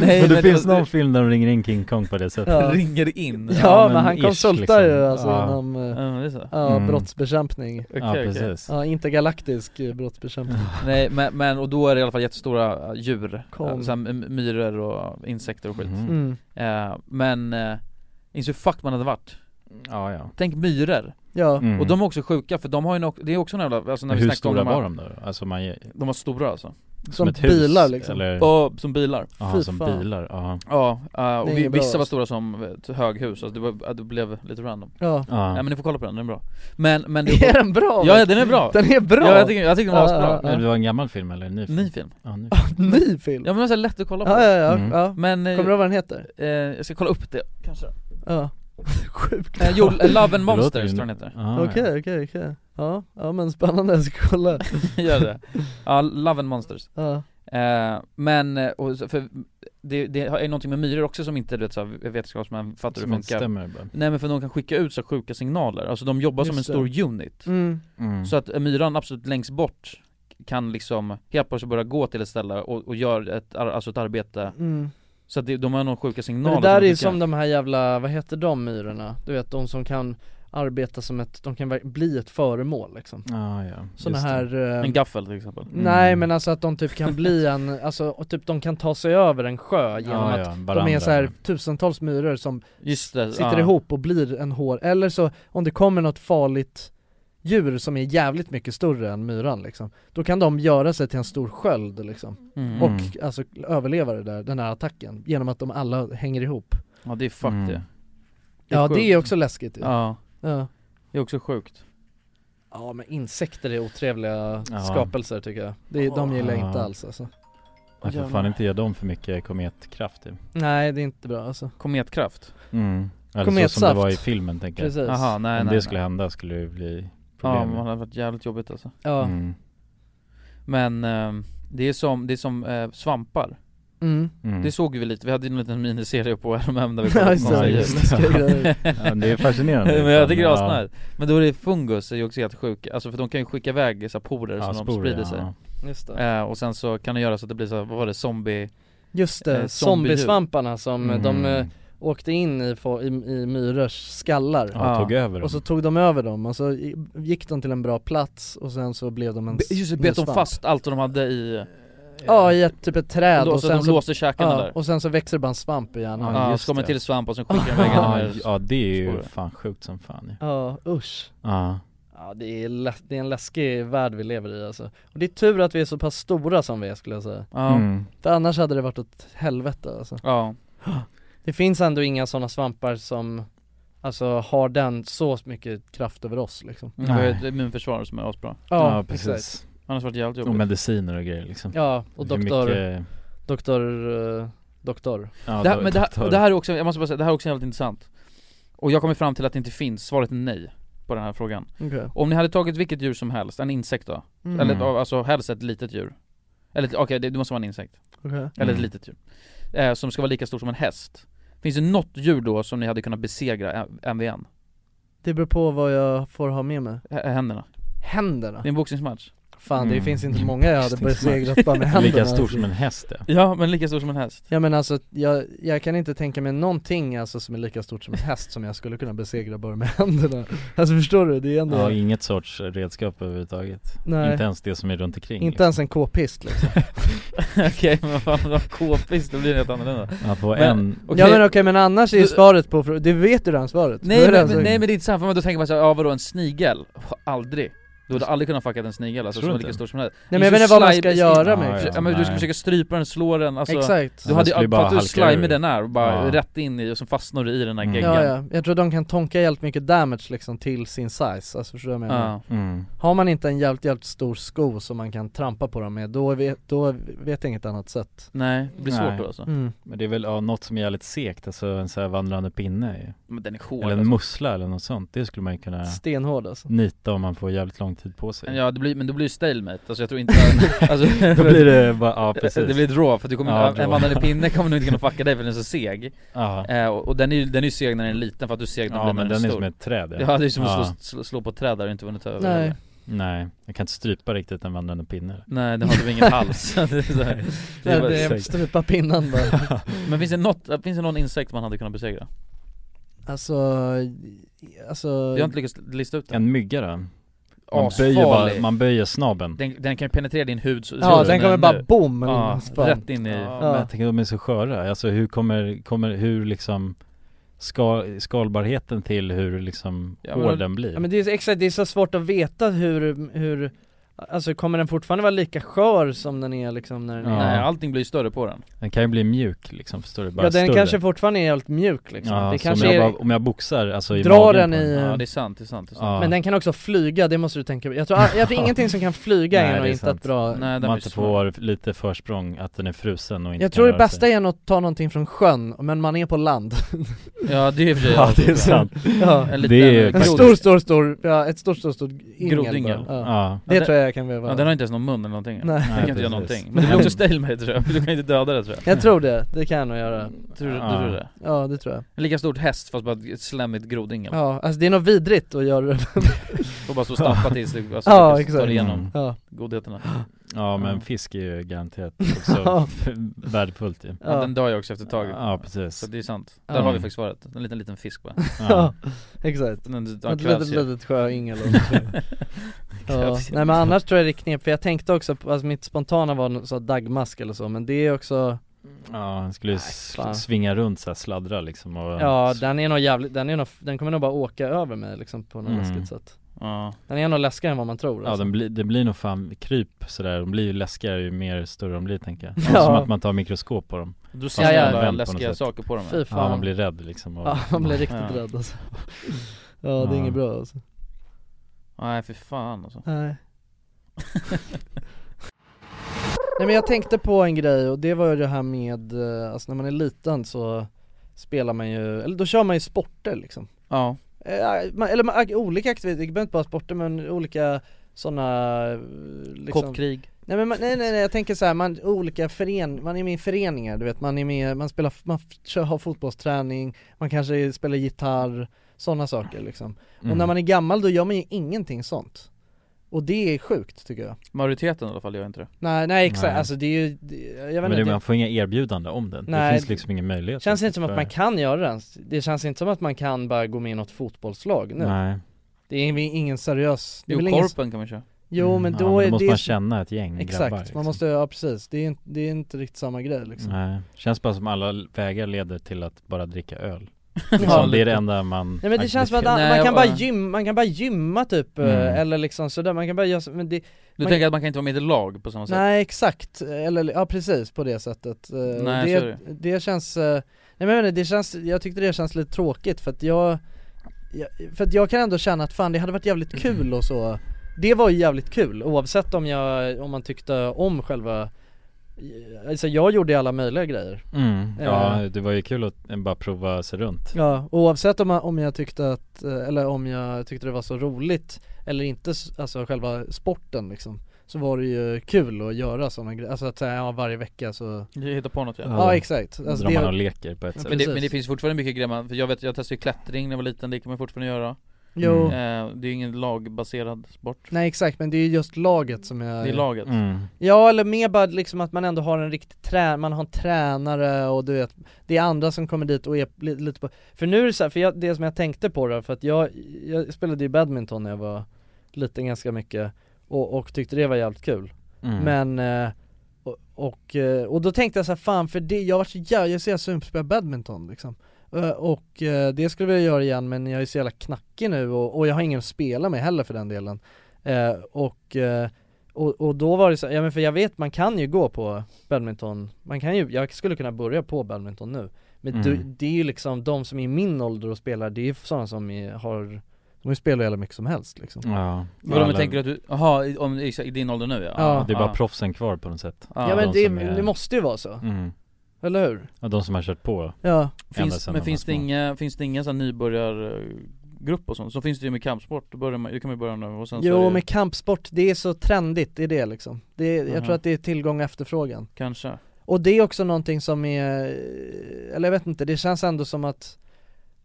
S1: Nej,
S3: men det
S1: men
S3: finns
S1: det-
S3: någon film där de ringer in King Kong på det sättet
S2: Ja.
S1: Ringer in.
S2: Ja,
S1: Ja,
S2: men
S1: men
S2: han
S1: ish,
S2: konsultar ju
S1: liksom.
S2: alltså
S1: Ja.
S2: inom
S1: Ja, men det är så.
S2: eh, ja,
S1: Mm.
S2: brottsbekämpning
S1: Okej, Ja, okej. precis.
S2: Ja, intergalaktisk eh, brottsbekämpning
S1: Nej men, men och då är det i alla fall jättestora äh, djur,
S2: Kom.
S1: Äh, så här, m- myror och insekter och skit
S2: Mm.
S1: Eh, Men, eh, inser hur fucked man hade varit
S3: Ja ja
S1: Tänk myror
S2: Ja.
S3: Mm.
S1: Och de är också sjuka för de har ju nog, det är också en jävla, alltså när vi
S3: Hur
S1: snackade
S3: stora
S1: om de här-
S3: var de då? Alltså man,
S1: De var stora alltså
S3: Som ett hus, bilar, liksom. eller?
S1: Ja, som bilar
S3: Jaha, Fy som fan. bilar, ja.
S1: Ja, eh, och
S3: Det är
S1: vi,
S3: inget bra,
S1: vissa var
S3: alltså.
S1: stora som ett höghus, alltså det, var, eh, det blev lite random
S2: Ja.
S3: Ja.
S1: men ni får kolla på den, den är bra Men, men
S2: Är den bra?
S1: Ja den är bra!
S2: Den är bra!
S1: Ja jag tycker, jag tycker den var
S2: Ja,
S1: asbra
S2: ja, ja.
S3: Det var en gammal film eller en ny film?
S1: Ny film
S3: Ja, ny
S2: Ny film?
S1: Ja men det är så här lätt att kolla på
S2: Ja, ja, ja,
S3: Mm.
S2: ja.
S1: Men, eh,
S2: Kommer du ihåg vad den heter?
S1: Eh, jag ska kolla upp det kanske
S2: Ja Sjukt
S1: Eh, jo, Love and
S2: Det låter
S1: Monsters
S2: ju-
S1: tror jag den heter
S2: Okej, okej, okej Ja, ja men spännande, jag ska kolla
S1: Gör det? Ja, Love and Monsters
S2: Ja.
S1: Eh, Men, eh, och, så- för det, det är någonting med myror också som inte du vet så här, vetenskapsmän fattar hur
S3: Som
S1: det
S3: inte
S1: funkar
S3: stämmer bara.
S1: Nej men för de kan skicka ut så här sjuka signaler, alltså de jobbar som en
S2: Just
S1: stor
S2: det.
S1: unit
S2: Mm.
S3: Mm.
S1: Så att eh, myran absolut längst bort kan liksom helt plötsligt börja gå till ett ställe och, och göra ett, ar- alltså ett arbete
S2: Mm.
S1: Så att det, de har några sjuka signaler
S2: Men det där
S1: de
S2: är ju
S1: skickar.
S2: som de här jävla, vad heter de myrorna? Du vet de som kan arbeta som ett, de kan ver- bli ett föremål liksom
S3: Ja, ja.
S1: Just
S2: Såna
S1: det.
S2: här eh,
S1: En Mm. gaffel till exempel
S2: Nej men alltså att de typ kan bli en, alltså och typ de kan ta sig över en sjö genom
S1: Ja, ja,
S2: att de är
S1: varandra.
S2: så här tusentals myror som
S1: Just det,
S2: sitter
S1: ja.
S2: ihop och blir en hår, eller så om det kommer något farligt djur som är jävligt mycket större än myran liksom, då kan de göra sig till en stor sköld liksom
S1: Mm.
S2: och alltså överleva det där, den här attacken genom att de alla hänger ihop
S1: Ja det är fuck
S3: Mm.
S2: Mm.
S1: det
S2: Ja, det är
S1: sjukt.
S2: också läskigt ju.
S1: Ja.
S2: Ja.
S1: Det är också sjukt
S2: Ja men insekter är otrevliga
S3: Ja.
S2: skapelser tycker jag, det, de gillar jag
S3: Ja.
S2: inte alls alltså
S3: Man får fan inte ge dem för mycket kometkraft ju.
S2: Nej det är inte bra alltså
S1: Kometkraft?
S3: Mm. Eller så som
S2: Kometsaft.
S3: det var i filmen tänker jag.
S2: Precis.
S1: Jaha, nej,
S3: Om
S1: nej,
S3: det
S1: nej.
S3: skulle hända skulle det bli Mm.
S1: Ja
S3: problem.
S1: men det hade varit jävligt jobbigt alltså
S2: Ja.
S1: Men ehm, det är som, det är som eh, svampar
S2: Mm.
S3: Mm.
S1: Det såg vi lite, vi hade ju en liten miniserie på RMM där vi
S2: Ja,
S1: kollade på
S2: just det.
S1: massa djur.
S2: Läskiga grejer.
S3: Ja, det är fascinerande.
S1: Men jag tycker det är
S3: Ja.
S1: asnice Men då är det fungus, är ju också helt sjuk, alltså för de kan ju skicka iväg så här porer
S3: Ja,
S1: som
S3: sporer,
S1: de sprider
S3: ja.
S1: sig
S2: Just det.
S1: Eh, Och sen så kan de göra så att det blir så här, vad var det, zombie
S2: Just det,
S1: eh, zombiedjur.
S2: zombiesvamparna som eh, de
S1: Mm.
S2: eh, åkte in i, fo- i, i myrors skallar
S1: Ja, tog över dem.
S2: Och så tog de över dem, och så i- gick de till en bra plats och sen så blev de en
S1: Be- Just det,
S2: s-
S1: bet de
S2: svamp.
S1: fast allt de hade i
S2: Ja, i ett, typ ett träd
S1: Låste-
S2: och sen
S1: de låste käkarna
S2: ja,
S1: där.
S2: och sen så växer det bara en svamp i hjärnan
S1: Ja,
S3: just
S1: så kommer
S3: det.
S1: till svamp och sen skickar de iväg henne
S3: Ja,
S1: med
S3: ja det är ju
S1: sporer.
S3: fan sjukt som fan ju.
S2: Ja, usch
S3: Ja.
S2: Ja det är, läs- det är en läskig värld vi lever i alltså Och det är tur att vi är så pass stora som vi är skulle jag säga
S1: Ja. Mm.
S2: För annars hade det varit åt helvete alltså
S1: Ja
S2: Det finns ändå inga sådana svampar som Alltså har den så mycket kraft över oss liksom
S1: Vi har ju ett immunförsvar som är asbra
S2: Ja, Ja, precis. exakt.
S1: Annars varit jävligt
S3: Och
S1: jobbigt
S3: mediciner och grejer liksom
S2: Ja, och
S3: Hur
S2: doktor,
S3: mycket-
S2: doktor, eh, doktor
S3: Ja,
S1: det här, men det här, och det här är också, jag måste bara säga, det här är också jävligt intressant Och jag kommer fram till att det inte finns, svaret är nej på den här frågan
S2: Okej.
S1: Om ni hade tagit vilket djur som helst, en insekt då?
S2: Mm.
S1: Eller ett- alltså helst ett litet djur Eller ett- okej, det, det måste vara en insekt
S2: Okej.
S1: Eller
S2: Mm.
S1: ett litet djur eh, Som ska vara lika stor som en häst Finns det något djur då som ni hade kunnat besegra ä- MVN?
S2: Det beror på vad jag får ha med mig
S1: Ä- eh, Händerna?
S2: Händerna?
S1: Det är en boxningsmatch
S2: Fan det
S1: Mm.
S2: finns inte många jag hade
S1: Boxningsmatch.
S2: besegrat bara med händerna
S3: Lika stor som en häst ja.
S1: Ja, men lika stor som en häst
S2: Ja men alltså, jag, jag kan inte tänka mig någonting alltså som är lika stort som en häst som jag skulle kunna besegra bara med händerna Alltså förstår du? Det är ändå
S3: Ja, inget sorts redskap överhuvudtaget
S2: Nej.
S3: Inte ens det som är runt omkring
S2: Inte ens en k-pist liksom
S1: Okej, men fan vad k-pist, det blir helt annorlunda
S3: liksom. Ja, på en-
S2: Ja men okej men annars är ju
S1: Du-
S2: svaret på frå- du vet ju redan svaret Då
S1: Nej
S2: är det
S1: men,
S2: alltså-
S1: men, nej men det är inte sant, för man då tänker man såhär, ja vadå en snigel? Aldrig Du hade aldrig kunnat fuckat en snigel alltså,
S2: Tror
S1: som var
S2: du
S1: lika
S2: inte?
S1: stor som den här.
S2: Nej, men jag
S1: Det är
S2: vet
S1: så
S2: inte vad man
S1: slimy-
S2: ska göra
S1: Ja,
S2: med-
S1: ja,
S2: Ja,
S1: ja, men du
S2: nej.
S1: ska försöka strypa den, slå den, alltså
S2: Exakt.
S1: Du
S2: Ja,
S1: hade
S2: den skulle
S1: ju,
S2: bara
S1: fattar hur
S2: halka
S1: slimy
S2: ur.
S1: den är, bara
S2: Ja.
S1: rätt in i och så fastnar du i den här geggan
S2: Ja, ja, jag tror de kan tonka jävligt mycket damage liksom till sin size, alltså förstår du vad jag menar?
S1: Ja. Mm.
S2: Har man inte en jävligt, jävligt stor sko som man kan trampa på dem med, då vet, då vet jag inget annat sätt
S1: Nej,
S3: Nej.
S1: alltså.
S2: Mm.
S3: Men det är väl ja, något som är jävligt segt, alltså en sån här vandrande pinne ju.
S1: Men den är hård,
S3: Eller en
S1: alltså.
S3: mussla eller något sånt, det skulle man ju kunna
S2: Stenhård, alltså.
S3: Nita om man får jävligt lång tid på sig
S1: Ja, det blir, men då blir det stalemate, alltså jag tror inte alltså,
S3: Då blir det bara- ja, precis.
S1: Det blir ett rå, för du kommer,
S3: Ja, draw.
S1: en vandrande pinne kommer nog inte kunna fucka dig för den är så seg
S3: Ja.
S1: eh, Och och den är ju den är ju seg när den är liten för att du är seg när
S3: Ja,
S1: den blir
S3: men
S1: när
S3: den är
S1: stor
S3: som ett träd,
S1: Ja,
S3: ja.
S1: det är som att
S3: Ja.
S1: slå, slå, slå på ett träd där du inte vunnit över
S2: Nej.
S1: heller.
S3: Nej, jag kan inte strypa riktigt en vandrande pinne
S1: Nej, den hade väl ingen hals. Det är så här.
S2: Det är bara- strupa pinnen bara.
S1: Men finns det, något, äh, finns det någon insekt man hade kunnat besegra?
S2: Alltså, alltså
S1: Jag har inte lyckats lista ut det
S3: En mygga då? Man
S1: Asfarlig.
S3: böjer, bara, man böjer snabben
S1: Den, den kan ju penetrera din hud så,
S2: Ja,
S1: så som
S2: den kommer
S1: är
S2: bara
S1: nu.
S2: boom, eller
S1: ja,
S2: något fan.
S1: rätt in i...
S3: Ja, Men jag tänker de är så sköra, alltså hur kommer, kommer hur liksom ska, skalbarheten till hur liksom hård den blir?
S2: Ja men det är, exakt, det är så svårt att veta hur, hur Alltså kommer den fortfarande vara lika skör som den är liksom när den
S3: Ja.
S2: är
S1: Nej, allting blir ju större på den
S3: Den kan ju bli mjuk liksom, förstår du? Bara
S2: Ja den
S3: större.
S2: kanske fortfarande är helt mjuk liksom,
S3: Ja,
S2: det
S3: så
S2: kanske
S3: om jag,
S2: är,
S3: bara, om jag boxar alltså i
S2: Drar
S3: magen
S2: den
S3: på
S2: i-
S1: Ja, det är sant, det är sant, det är sant.
S3: Ja.
S2: Men den kan också flyga, det måste du tänka på. Jag tror, jag tror ingenting som kan flyga
S3: Nej,
S2: är nog
S3: det
S2: inte
S3: sant.
S2: ett bra...
S3: Man inte får lite försprång, att den är frusen och inte
S2: jag
S3: kan
S2: tror det
S3: röra sig.
S2: bästa är att ta någonting från sjön, men man är på land
S1: Ja det är för sig
S3: Ja, det är sant.
S2: ja.
S3: En liten Det är
S2: En
S3: faktiskt-
S2: stor, stor, stor, ja ett stort, stort, stort yngel
S1: Grodyngel
S2: bara. Ja. Det tror jag jag kan veva
S1: ja, den har inte ens någon mun eller någonting
S2: Nej.
S1: Den kan inte
S2: Nej,
S1: göra
S2: precis.
S1: någonting Men det blir också stalemate tror jag, du kan ju inte döda det tror jag
S2: Jag tror det, det kan jag nog göra
S3: Mm.
S1: Tror du,
S2: ja.
S1: du tror det?
S2: Ja det tror jag
S1: En Lika stort häst fast bara ett slemmigt grodyngel
S2: Ja, alltså det är något vidrigt att göra det
S1: Får bara stå och stappa tills du alltså, lyckas
S2: Ja
S1: ta
S2: exakt Mm.
S1: dig igenom
S2: ja.
S1: godheterna
S3: Ja men fisk är ju garanterat också
S1: Ja.
S3: värdefullt ju
S1: ja. den dör ju också efter ett tag
S3: Ja precis
S1: Så det är sant, där
S3: Ja.
S2: Mm.
S1: har vi faktiskt svaret, en liten liten fisk bara
S2: Ja, exakt.
S1: Den, den,
S2: Ett
S1: kvävs
S2: litet,
S1: ju.
S2: litet sjöyngel och ja.
S1: Krävs ju.
S2: Nej men annars tror jag det är knep, för jag tänkte också, på- alltså mitt spontana var någon sån dagmask eller så, men det är också
S3: Ja han skulle ju s- svinga runt såhär, sladdra liksom och
S2: Ja den är nog jävligt, den är nog, den kommer nog bara åka över mig liksom på något
S3: Mm.
S2: läskigt sätt
S1: Ja.
S2: Den är nog läskigare än vad man tror
S3: Ja
S2: alltså.
S3: den blir, det blir nog fan kryp sådär, de blir ju läskigare ju mer större de blir tänker jag
S2: Ja.
S3: Som att man tar mikroskop på dem
S1: Då
S3: Fast
S1: ser man
S3: de är
S1: alla
S3: vänd på
S1: läskiga
S3: något sätt.
S1: saker på dem.
S2: Fy fan.
S3: Ja man blir rädd liksom och,
S2: Ja man blir riktigt rädd alltså Ja det är
S3: Ja.
S2: inget bra alltså
S1: Nej för fan alltså
S2: Nej Nej men jag tänkte på en grej och det var ju det här med, eh, alltså när man är liten så spelar man ju, eller då kör man ju sporter liksom
S1: Ja
S2: Eh, man- Eller man, olika aktiviteter, det behöver inte vara sporter men olika sådana liksom,
S1: Koppkrig.
S2: Nej men man, nej, nej nej jag tänker så här, man, olika fören, man är med i föreningar du vet, man är med, man spelar, man f- kör, har fotbollsträning, man kanske spelar gitarr, sådana saker liksom
S1: Mm.
S2: Och
S3: Mhm.
S2: när man är gammal då gör man ju ingenting sånt Och det är sjukt tycker jag
S1: Majoriteten i alla fall gör inte det
S2: Nej nej exakt,
S3: Nej.
S2: alltså det är ju, det, jag vet
S3: Men det,
S2: inte
S3: man får inga erbjudanden om den,
S2: Nej,
S3: det finns liksom ingen möjlighet
S2: Känns inte som att
S3: för-
S2: man kan göra det ens. Det känns inte som att man kan bara gå med i något fotbollslag nu
S3: Nej.
S2: Det är väl ingen seriös det är
S1: Jo
S2: väl ingen-
S1: korpen kan man köra
S2: Jo men
S3: mm. Ja,
S2: då,
S3: men då
S2: är
S3: måste
S2: det
S3: man känna ett gäng
S2: Exakt,
S3: grabbar,
S2: man
S3: liksom.
S2: måste, ja precis, det är, inte- det är inte riktigt samma grej liksom
S3: Nej, känns bara som alla vägar leder till att bara dricka öl
S2: Ja,
S3: liksom, Det är
S2: lite.
S3: det enda man
S2: Nej men det känns som att
S1: Nej,
S2: man kan
S1: och-
S2: bara gymma, man kan bara gymma typ, eh,
S1: Mm.
S2: eller liksom sådär, man kan bara göra så- men det
S1: Du tänker att man kan inte vara med i lag på samma sätt?
S2: Nej exakt, eller ja precis på det sättet Eh, och
S1: Nej, så är
S2: det, det känns, eh, nej men jag menar, det känns, jag tyckte det känns lite tråkigt för att jag jag, för att jag kan ändå känna att fan det hade varit jävligt kul och så Det var ju jävligt kul oavsett om jag, om man tyckte om själva Alltså jag gjorde ju alla möjliga grejer
S3: Mm.
S2: Eh,
S3: Ja, det var ju kul att eh, bara prova sig runt.
S2: Ja, oavsett om, jag- om jag tyckte att, eh, eller om jag tyckte det var så roligt eller inte, s- alltså själva sporten liksom så var det ju kul att göra sådana grejer, alltså att säga ja, varje vecka så
S1: Hitta på något
S2: ja Ja exakt alltså, det- Ja,
S1: men, det,
S2: precis.
S1: men det finns fortfarande mycket grejer man, för jag vet, jag testade ju klättring när jag var liten, det kan man fortfarande göra
S2: Jo.
S1: Eh, Det är ju ingen lagbaserad sport
S2: Nej exakt men det är ju just laget som jag
S1: Det är laget. Mm.
S2: Ja eller mer bara liksom att man ändå har en riktig trä, man har en tränare och du vet Det är andra som kommer dit och är li- lite på För nu är det så här, för jag, det som jag tänkte på då, för att jag, jag spelade ju badminton när jag var liten ganska mycket Och, och tyckte det var jävligt kul
S8: Mm.
S2: Men eh, och, och, eh, och då tänkte jag så här, fan för det, jag var så jävla, jag är så jävla sugen på att spela badminton liksom Eh, Och eh, det skulle jag vilja göra igen men jag är så jävla knackig nu och, och jag har ingen att spela med heller för den delen Eh, och, eh, och, och då var det så, ja men för jag vet man kan ju gå på badminton, man kan ju, jag skulle kunna börja på badminton nu Men
S8: Mm.
S2: du, det är ju liksom de som är i min ålder och spelar, det är ju sådana som är, har, de har ju spelat hur mycket som helst liksom
S3: Mm.
S1: Vadå om jag tänker att du, jaha, i- om, i, i din ålder nu ja?
S2: Ja.
S3: Det är bara proffsen kvar på något sätt.
S2: Ja men
S3: De
S2: det,
S3: som är-
S2: det måste ju vara så,
S3: Mm.
S2: eller hur?
S3: Ja, de som har kört på.
S2: Ja.
S3: ända
S1: Finns,
S3: sedan
S1: men
S3: de
S1: finns
S3: var
S1: det,
S3: små.
S1: inga, finns det inga sån här nybörjargrupp och sånt? Så finns det ju med kampsport, då börjar man, det kan man ju börja nu och sen så
S2: Jo
S1: är det,
S2: men kampsport, det är så trendigt, det är det liksom det är, Jag
S1: Mhm.
S2: tror att det är tillgång och efterfrågan
S1: Kanske
S2: Och det är också någonting som är, eller jag vet inte, det känns ändå som att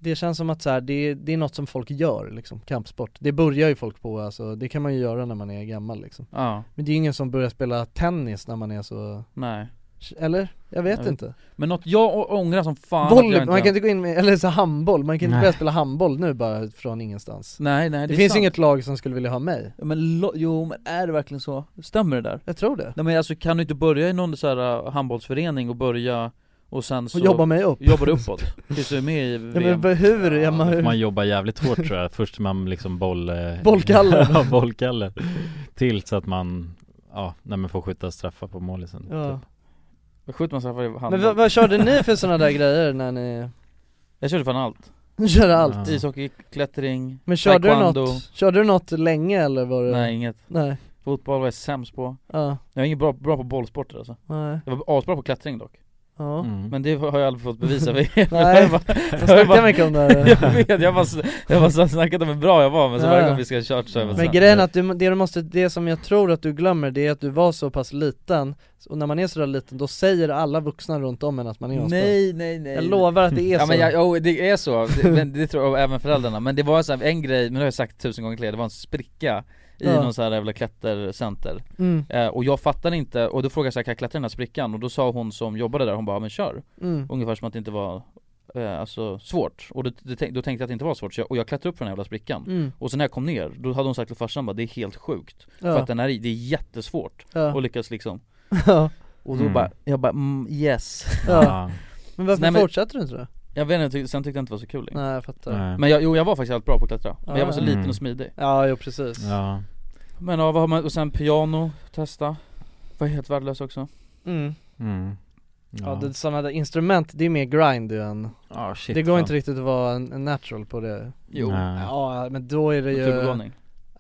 S2: Det känns som att så här, det, är- det är något som folk gör liksom, kampsport Det börjar ju folk på alltså, det kan man ju göra när man är gammal liksom
S1: Ja.
S2: Men det är ju ingen som börjar spela tennis när man är så
S1: Nej
S2: Eller? Jag vet
S1: Jag vet-
S2: inte
S1: Men något jag å- ångrar som fan att jag
S2: Volley,
S1: inte-
S2: man kan inte gå in med, eller så handboll, man kan inte
S1: Nej.
S2: börja spela handboll nu bara från ingenstans
S1: Nej, nej,
S2: Det,
S1: det är
S2: finns
S1: sant.
S2: inget lag som skulle vilja ha mig
S1: Men lo- jo men är det verkligen så? Stämmer det där?
S2: Jag tror det
S1: Nej men alltså kan du inte börja i någon så här uh, handbollsförening och börja och sen så
S2: Och jobba mig upp.
S1: Jobba dig uppåt, tills du är med i
S2: Ja,
S1: VM
S2: men hur? Ja, man,
S3: Får
S2: hur?
S3: man jobbar jävligt hårt tror jag, först man liksom boll... eh,
S2: Bollkallen.
S3: ja, bollkallen Till så att man, ja, nej men får skjuta straffar på målet sen typ.
S2: Ja.
S1: Då skjuter man straffar i handboll
S2: Men vad, vad körde ni för sådana där grejer när ni
S1: Jag körde fan allt
S2: Ni körde allt? Ja.
S1: Ishockey, klättring,
S2: Men körde du,
S1: taekwondo
S2: något, körde du något länge eller var det?
S1: Nej inget
S2: Nej.
S1: Fotboll var jag sämst på
S2: Ja.
S1: Jag är ingen bra, bra på bollsporter alltså
S2: Nej.
S1: Jag var asbra på klättring dock
S2: Ja.
S3: Mm.
S1: Men det har jag aldrig fått bevisa för er
S2: Nej.
S1: Jag bara-
S2: Jag snackar
S1: bara-
S2: mycket om det här.
S1: Jag vet, jag bara, jag bara snackat om hur bra jag var men så varje gång vi ska ha kört så är jag bara så
S2: Men
S1: här,
S2: grejen är att du, det, du måste, det som jag tror att du glömmer det är att du var så pass liten Och när man är sådär liten då säger alla vuxna runt om en att man är asbra.
S1: Nej nej nej
S2: Jag lovar att det är
S1: ja,
S2: så
S1: Men jag, jo, det är så, det, men det tror jag även föräldrarna, men det var så här, en grej, men det har jag sagt tusen gånger till er, det var en spricka i
S2: Ja.
S1: någon sån här jävla klättercenter
S2: Mm.
S1: eh, Och jag fattade inte, och då frågade jag så här, kan jag klättra i den här sprickan? Och då sa hon som jobbade där, hon bara, "Ja, men kör
S2: Mm.
S1: Ungefär som att det inte var eh, Alltså svårt, och då, det, tänk- då tänkte jag att det inte var svårt, så jag, och jag klättrade upp för den här jävla sprickan
S2: Mm.
S1: Och sen när jag kom ner, då hade hon sagt till farsan bara, det är helt sjukt
S2: Ja.
S1: För att den här, det är jättesvårt
S2: Ja.
S1: att lyckas liksom
S2: Ja.
S1: Och då
S2: Mm.
S1: bara, jag bara mm, yes
S2: Ja. Men varför
S1: Nej,
S2: fortsatte du inte då?
S1: Jag vet inte, sen tyckte jag inte det var så kul längre
S2: Nej, jag fattar. Nej.
S1: Men jag, jo jag var faktiskt helt bra på att klättra, men
S2: Ja,
S1: jag var så
S2: ja.
S1: liten
S2: Mm.
S1: och smidig
S2: Ja, jo precis
S3: Ja.
S1: Men ja, vad har man, och sen piano, testa Var helt värdelös också
S2: Mm.
S3: Mm.
S2: Ja, det, sådana där instrument, det är mer grind ju än
S3: Ja, shit,
S2: Det går
S3: fan.
S2: inte riktigt att vara en, en natural på det
S3: Jo. Nej.
S2: Ja men då är det ju
S1: Naturbegåvning.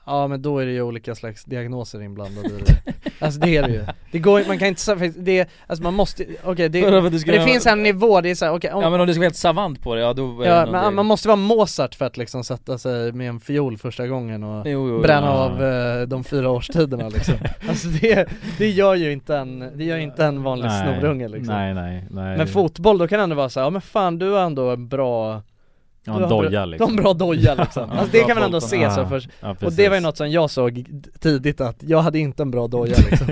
S2: Ja men då är det ju olika slags diagnoser inblandade i det Alltså det är det ju Det går ju- man kan inte säga, det, är- alltså man måste, okej det,
S1: Vadå,
S2: men
S1: vad du
S2: det
S1: skulle göra-
S2: finns en nivå, det är såhär, okej om-
S1: Ja men om du ska vara helt savant på det, ja då är
S2: Ja,
S1: det
S2: men man måste vara Mozart för att liksom sätta sig med en fiol första gången och
S1: Jo, jo, jo.
S2: bränna
S1: Ja.
S2: av eh, de fyra årstiderna liksom Alltså det, det gör ju inte en, det gör ju inte en vanlig
S3: Nej.
S2: snorunge liksom
S3: Nej, nej, nej.
S2: Men fotboll, då kan det ändå vara såhär, ja men fan du har ändå en bra
S3: Ja,
S2: du
S3: en
S2: har bra-
S3: doja, liksom.
S2: De har en bra doja liksom,
S3: Ja,
S2: alltså, det
S3: bra
S2: kan man ändå
S3: boll.
S2: se
S3: Ja,
S2: så först
S3: ja,
S2: Och det
S3: precis.
S2: var ju något som jag såg tidigt att jag hade inte en bra doja liksom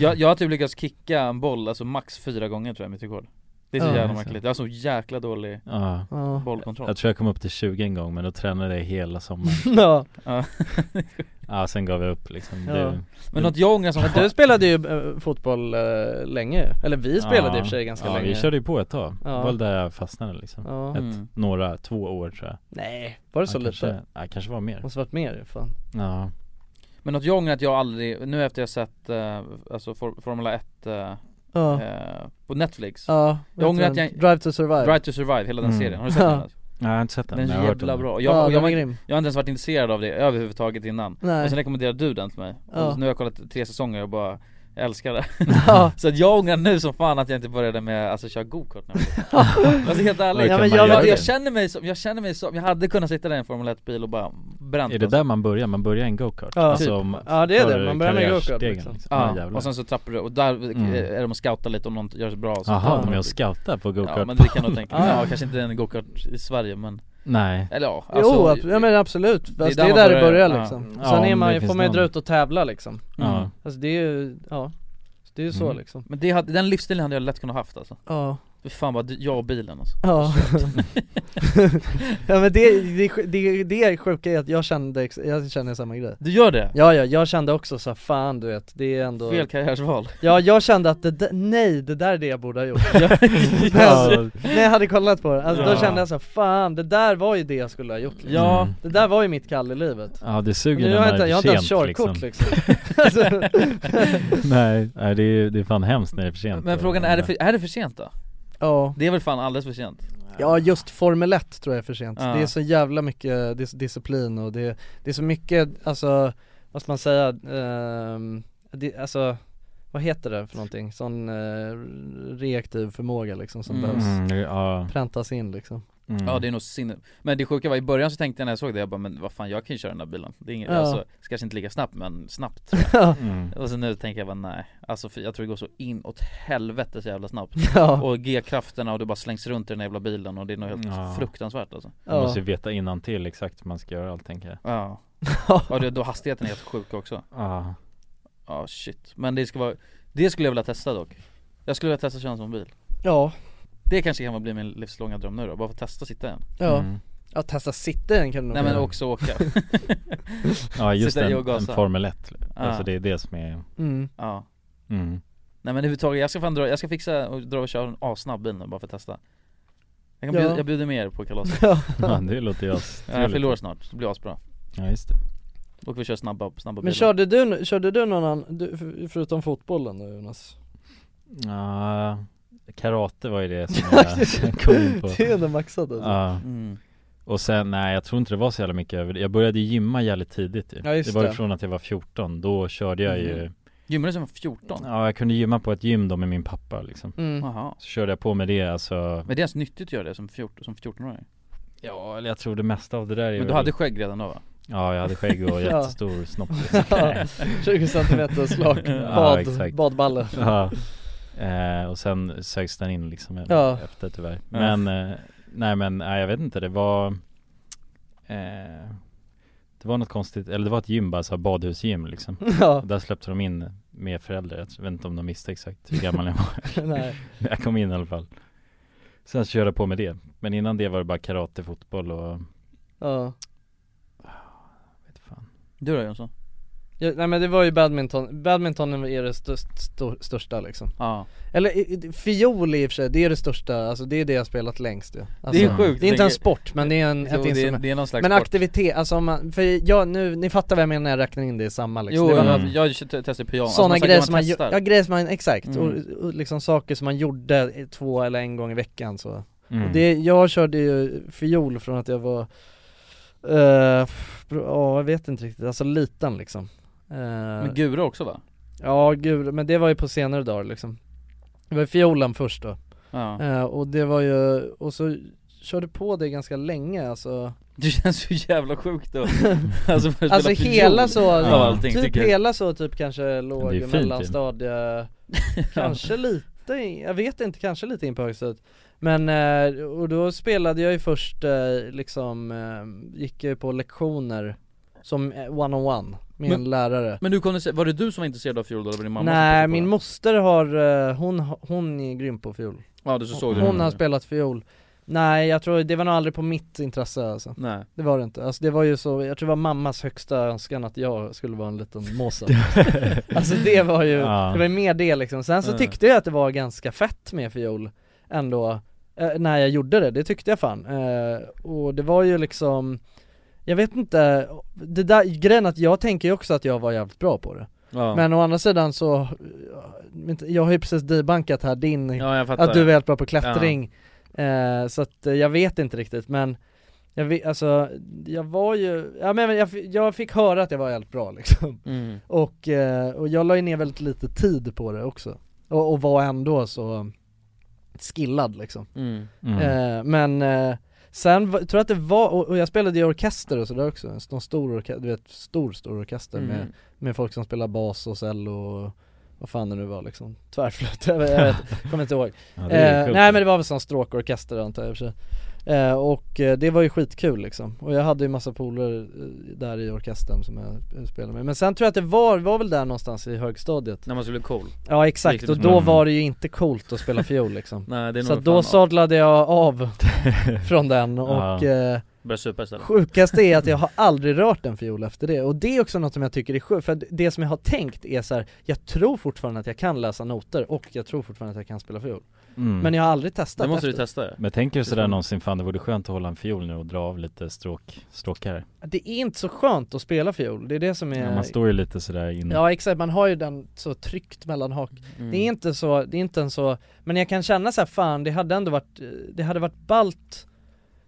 S1: jag, jag har typ lyckats kicka en boll, alltså max fyra gånger tror jag, mitt rekord Det är så
S2: Ja.
S1: jävla märkligt, jag har så jäkla dålig
S3: Ja.
S1: bollkontroll
S3: Jag tror jag kom upp till 20 en gång men då tränade jag hela sommaren
S2: Ja.
S3: Ja sen gav jag upp liksom
S2: Ja.
S3: det,
S1: Men något jag ångrar som
S2: Du spelade ju eh, fotboll eh, länge eller vi spelade
S3: Ja.
S2: i och för sig ganska
S3: ja,
S2: länge
S3: vi körde ju på ett tag,
S2: Ja.
S3: det var där jag fastnade liksom
S2: Ja.
S3: ett,
S2: Mm.
S3: Några, två år tror jag
S2: Nej, var det så
S3: ja,
S2: lite?
S3: kanske, ja, kanske var mer
S2: Måste varit mer ju, fan
S3: Ja,
S1: Men något jag ångrar att jag aldrig, nu efter jag sett eh, alltså for, Formula 1 eh,
S2: Ja.
S1: eh, på Netflix
S2: Ja,
S1: Jag
S2: vet
S1: ångrar
S2: du
S1: att
S2: den?
S1: jag
S2: Drive to Survive.
S1: Drive to Survive, hela den
S2: Mm.
S1: serien, har du sett den?
S2: Ja.
S1: alltså?
S3: Nej, jag har inte sett den.
S1: Den
S3: men
S1: är
S3: jag har hört
S1: jävla
S3: om den.
S1: bra, jag,
S2: Ja,
S1: och
S2: den
S1: jag,
S2: är
S1: har-
S2: grym.
S1: jag har inte ens varit intresserad av det överhuvudtaget innan
S2: Nej.
S1: Och sen rekommenderade du den till mig, och
S2: Ja.
S1: nu har jag kollat tre säsonger och bara jag älskar det
S2: Ja.
S1: Så att jag ångrar nu som fan att jag inte började med, alltså köra gokart nu Alltså helt
S3: Ja,
S1: ärligt,
S3: kan
S1: jag,
S3: man göra
S1: jag,
S3: det?
S1: jag känner mig som, jag känner mig som, jag hade kunnat sitta där i en Formel 1 bil och bara bränt
S3: Är det där man börjar? Man börjar i en go-kart? Alltså
S1: Ja. Typ.
S2: alltså. Ja, det är det.
S3: för
S2: Man börjar med go-kart,
S3: karriärstegen,
S2: liksom.
S3: Ja,
S1: Ja,
S3: jävlar.
S1: och sen så trappar du, och där
S3: Mm.
S1: eh, är de och scoutar lite om någon gör sig bra och så.
S3: Jaha,
S1: Ja.
S3: de är och scoutar på
S1: Ja
S3: go-kart
S1: men det kan jag nog tänka mig,
S2: Ja.
S1: ja kanske inte en gokart i Sverige men
S3: Nej.
S1: Eller ja, alltså,
S2: jo, ab- ja, men absolut. Alltså, det är där det
S1: man
S2: börjar,
S1: ja.
S2: liksom.
S1: Ja,
S2: Sen är
S1: om
S2: man,
S1: det
S2: ju- får
S1: finns
S2: man ju
S1: någon.
S2: dra ut och tävla liksom.
S1: Ja.
S2: Alltså det är ju, ja. Det är ju så
S1: Mm.
S2: liksom.
S1: Men det hade, den livsstilen hade jag lätt kunnat haft alltså
S2: Ja.
S1: Fy fan vad, dy- jag och bilen alltså
S2: Ja. ja men det, det, det, det sjuka är att jag kände, ex- jag känner samma grej
S1: Du gör det?
S2: Ja ja, jag kände också så här, fan du vet, det är ändå
S1: Fel karriärsval.
S2: Ja jag kände att det, d- nej det där är det jag borde ha gjort
S1: Ja.
S2: men, När jag hade kollat på det, alltså, då
S3: Ja.
S2: kände jag så här, fan det där var ju det jag skulle ha gjort liksom.
S3: Ja. Mm.
S2: Det där var ju mitt kall i livet
S3: Ja det suger
S2: Nu
S3: när
S2: har
S3: man
S2: jag inte,
S3: är
S2: jag har
S3: för
S2: inte ens
S3: sent,
S2: körkort liksom, Alltså.
S3: liksom. Nej, nej det, är, det är fan hemskt när det är för sent
S1: liksom.
S3: eh,
S1: Men frågan är, är det för, är det för sent då?
S2: Ja
S1: Det är väl fan alldeles för sent?
S2: Ja just Formel 1 tror jag är för sent,
S1: Ja.
S2: det är så jävla mycket dis- disciplin och det, det är så mycket, alltså vad ska man säga, ehm, det, alltså vad heter det för någonting? Sån eh, reaktiv förmåga liksom som
S1: Mm.
S2: behövs
S3: Mm, ja. Mm.
S2: präntas in liksom
S1: Ja det är nog sinne Men det sjuka var i början så tänkte jag när jag såg det, jag bara men vad fan jag kan ju köra den där bilen Det är inget,
S2: Ja.
S1: alltså, kanske inte lika snabbt men snabbt tror
S2: Ja.
S1: jag.
S2: Mm.
S1: Och så nu tänker jag bara nej, alltså för jag tror det går så inåt helvete så jävla snabbt
S2: Ja.
S1: Och G-krafterna och du bara slängs runt i den här jävla bilen och det är något helt
S3: Ja.
S1: fruktansvärt alltså
S3: Man måste ju veta innan till exakt hur man ska göra allt tänker jag
S1: Ja Ja det, då hastigheten är helt sjuk också
S3: Ja.
S1: Ja shit, men det ska vara, det skulle jag vilja testa dock Jag skulle vilja testa att köra en sån bil
S2: Ja.
S1: Det kanske kan bli min livslånga dröm nu då, bara få testa att sitta i en
S2: Ja, ja testa sitta i den kan
S1: Mm.
S2: du nog
S1: Nej men
S2: göra.
S1: också åka
S3: Alltså, Ja just
S1: Sitta i
S3: en,
S1: och
S3: en
S1: gasa.
S3: Formel 1 Alltså
S1: Ja.
S3: det är det som är
S2: Mm.
S1: Ja
S3: Mm.
S1: Nej men överhuvudtaget, jag ska fan dra, jag ska fixa och dra och köra en assnabb bil nu bara för att testa jag, kan
S3: Ja.
S1: bjuda, jag bjuder med er på kalaset
S3: Ja, det låter ju as-
S1: ja, Jag
S3: trevligt.
S1: fyller år snart, det blir asbra
S3: Ja just det
S1: Och vi kör snabba, snabba
S2: Men
S1: bilar
S2: körde du, körde du någon annan, du, för- förutom fotbollen då Jonas?
S3: Ja, Karate var ju det som jag kom in på
S2: Det är ändå maxat alltså.
S3: Ja.
S1: Mm.
S3: Och sen, nej jag tror inte det var så jävla mycket över det. Jag började ju gymma jävligt tidigt ju.
S1: Ja, just
S3: Det var ju
S1: det.
S3: från att jag var 14, då körde jag ju
S1: Mm. Gymmade som 14?
S3: Ja jag kunde gymma på ett gym då med min pappa liksom
S1: Mm. Aha.
S3: Så körde jag på med det alltså
S1: Men det är ens nyttigt att göra det som 14 som 14-åring?
S3: Ja eller jag tror det mesta av det där är
S1: Men du
S3: väl-
S1: hade skägg redan då va?
S3: Ja jag hade skägg och
S1: Ja.
S3: jättestor snopp liksom.
S2: Ja, 20 centimeter slak, bad-
S3: exakt.
S2: badballe.
S3: ja. eh, Och sen sögs den in liksom
S2: Ja.
S3: efter tyvärr
S2: Ja.
S3: Men, eh, nej men nej, jag vet inte det var eh, Det var något konstigt, eller det var ett gym bara så här badhusgym liksom
S2: Ja.
S3: Där släppte de in med föräldrar, jag vet inte om de visste exakt hur gammal jag var
S2: Nej.
S3: Men jag kom in i alla fall Sen så körde jag på med det Men innan det var det bara karate, fotboll och
S2: Ja
S1: Du då Jonsson?
S2: Ja, nej men det var ju badminton, badminton är det störst, stor, största liksom
S1: Ja.
S2: Eller i- i- fiol i och för sig, det är det största, alltså det är det jag har spelat längst ju alltså,
S1: är sjukt,
S2: Det är inte
S1: tänker-
S2: en sport men det är en,
S1: Jo,
S2: ett
S1: det är-
S2: instrument
S1: det är någon slags
S2: Men
S1: sport.
S2: aktivitet, alltså om man, för jag nu, ni fattar vad jag menar när jag räknar in det i samma liksom
S1: Jo, Alltså,
S2: det var
S1: jag,
S2: något-
S1: jag t- testade pyjamas,
S2: Sådana
S1: Alltså,
S2: grejer som man, gjo-
S1: testar.
S2: ja grejer som man, exakt,
S1: Mm.
S2: och, och liksom saker som man gjorde i- två eller en gång i veckan så
S1: Mm.
S2: och det, jag körde ju fiol från att jag var, eh, f- ja jag vet inte riktigt, alltså liten liksom Eh,
S1: Men Gura också va?
S2: Ja gud, men det var ju på senare dagar liksom Det var ju fiolen först då
S1: Ja.
S2: Eh, Och det var ju, och så körde på det ganska länge alltså
S1: Det känns så jävla sjukt då Alltså, för att
S2: Alltså
S1: spela fiol.
S2: hela så,
S1: Av allting,
S2: typ
S1: tycker jag.
S2: hela så typ kanske låg
S1: är fint ju.
S2: mellanstadie Kanske lite, in- jag vet inte, kanske lite in på högstadiet Men, eh, och då spelade jag ju först eh, liksom, eh, gick ju på lektioner som eh, one-on-one med en
S1: Men-
S2: lärare
S1: Men du kunde se, var det du som var intresserad av fiol då eller var det din mamma
S2: Nej
S1: som tittade på
S2: min
S1: det?
S2: moster har, eh, hon, har- hon är grym på fiol
S1: Ja, du så såg du
S2: Hon
S1: det.
S2: har spelat fiol Nej jag tror, det var nog aldrig på mitt intresse alltså
S1: Nej.
S2: Det var det inte, alltså det var ju så, jag tror det var mammas högsta önskan att jag skulle vara en liten måsa Alltså det var ju,
S3: Ja.
S2: det var ju mer det liksom Sen så
S3: Ja.
S2: tyckte jag att det var ganska fett med fiol ändå eh, När jag gjorde det, det tyckte jag fan eh, Och det var ju liksom jag vet inte, det där, grejen är att jag tänker ju också att jag var jävligt bra på det
S1: Ja.
S2: Men å andra sidan så, eh, jag har ju precis debankat här din,
S1: Ja, jag fattar.
S2: att du är väldigt bra på klättring eh, Så att eh, jag vet inte riktigt men Jag vet, alltså, jag var ju, ja men jag, fi- jag fick höra att jag var helt bra liksom
S7: Mm.
S2: och, eh, och jag la ju ner väldigt lite tid på det också och, och var ändå så skillad liksom
S7: Mm.
S3: Mm.
S2: Eh, Men eh, sen va- tror jag att det var, och, och jag spelade i orkester och sådär också, en st- någon stor orkester, du vet stor stor orkester med,
S7: Mm.
S2: med folk som spelar bas och cello och vad fan det nu var liksom, tvärflöjt, jag, vet- jag vet, kommer inte ihåg
S3: Ja, det är
S2: eh,
S3: coolt.
S2: Nej men det var väl sån stråkorkester antar jag i och för sig eh, Och eh, det var ju skitkul liksom, och jag hade ju massa polare eh, där i orkestern som jag eh, spelade med Men sen tror jag att det var, var väl där någonstans i högstadiet
S7: När man skulle bli cool
S2: Ja exakt,
S7: Riktigt
S2: och då
S7: smart.
S2: var det ju inte coolt att spela fiol liksom
S7: Nej, det är
S2: Så
S7: nog
S2: att då
S7: fan
S2: sadlade jag av från den och
S7: Ja.
S2: eh,
S7: Började supa istället.
S2: Sjukaste är att jag har aldrig rört en fiol efter det, och det är också något som jag tycker är sjukt, för att det som jag har tänkt är så här: jag tror fortfarande att jag kan läsa noter och jag tror fortfarande att jag kan spela fiol
S3: Mm.
S2: Men jag har aldrig testat efter.
S3: Men tänker du sådär någonsin, fan det vore skönt att hålla en fiol nu och dra av lite stråk, stråkar
S2: Det är inte så skönt att spela fiol, det är det som är
S3: ja, Man står ju lite sådär inne
S2: Ja exakt, man har ju den så tryckt mellan hak
S7: Mm.
S2: Det
S3: Mm.
S2: är inte så, det är inte en så, men jag kan känna så här, fan det hade ändå varit, det hade varit balt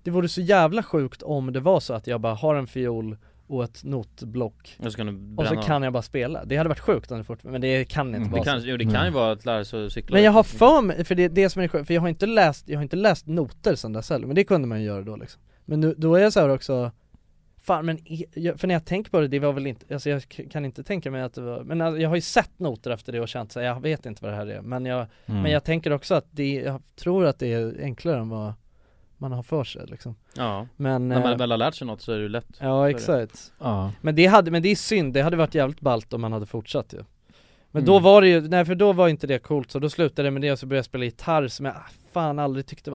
S2: Det vore så jävla sjukt om det var så att jag bara har en fiol och ett notblock
S7: Och så kan du
S2: Och så
S7: bränna
S2: kan jag bara spela, det hade varit sjukt om det fortfarande, men det kan
S3: Mm.
S2: inte
S7: Det
S2: vara
S7: kan,
S2: så
S7: jo, det kan ju vara att lära sig att cykla
S2: Mm. Men jag har för mig, för det är det som är skönt, för jag har inte läst, jag har inte läst noter sen dess heller, men det kunde man ju göra då liksom Men nu, då är jag så här också Fan men, i- jag- för när jag tänker på det, det var väl inte, alltså jag k- kan inte tänka mig att det var, men alltså, jag har ju sett noter efter det och känt så här, jag vet inte vad det här är, men jag,
S7: Mm.
S2: men jag tänker också att det, jag tror att det är enklare än vad man har för sig liksom
S7: Ja,
S2: men,
S7: när
S2: eh,
S7: man väl har lärt sig något så är det ju lätt
S2: Ja exakt Men det hade, men det är synd, det hade varit jävligt ballt om man hade fortsatt ju Men då
S7: Mm.
S2: var det ju, nej för då var inte det coolt så då slutade jag med det och så började jag spela gitarr som jag ah, fan aldrig tyckte var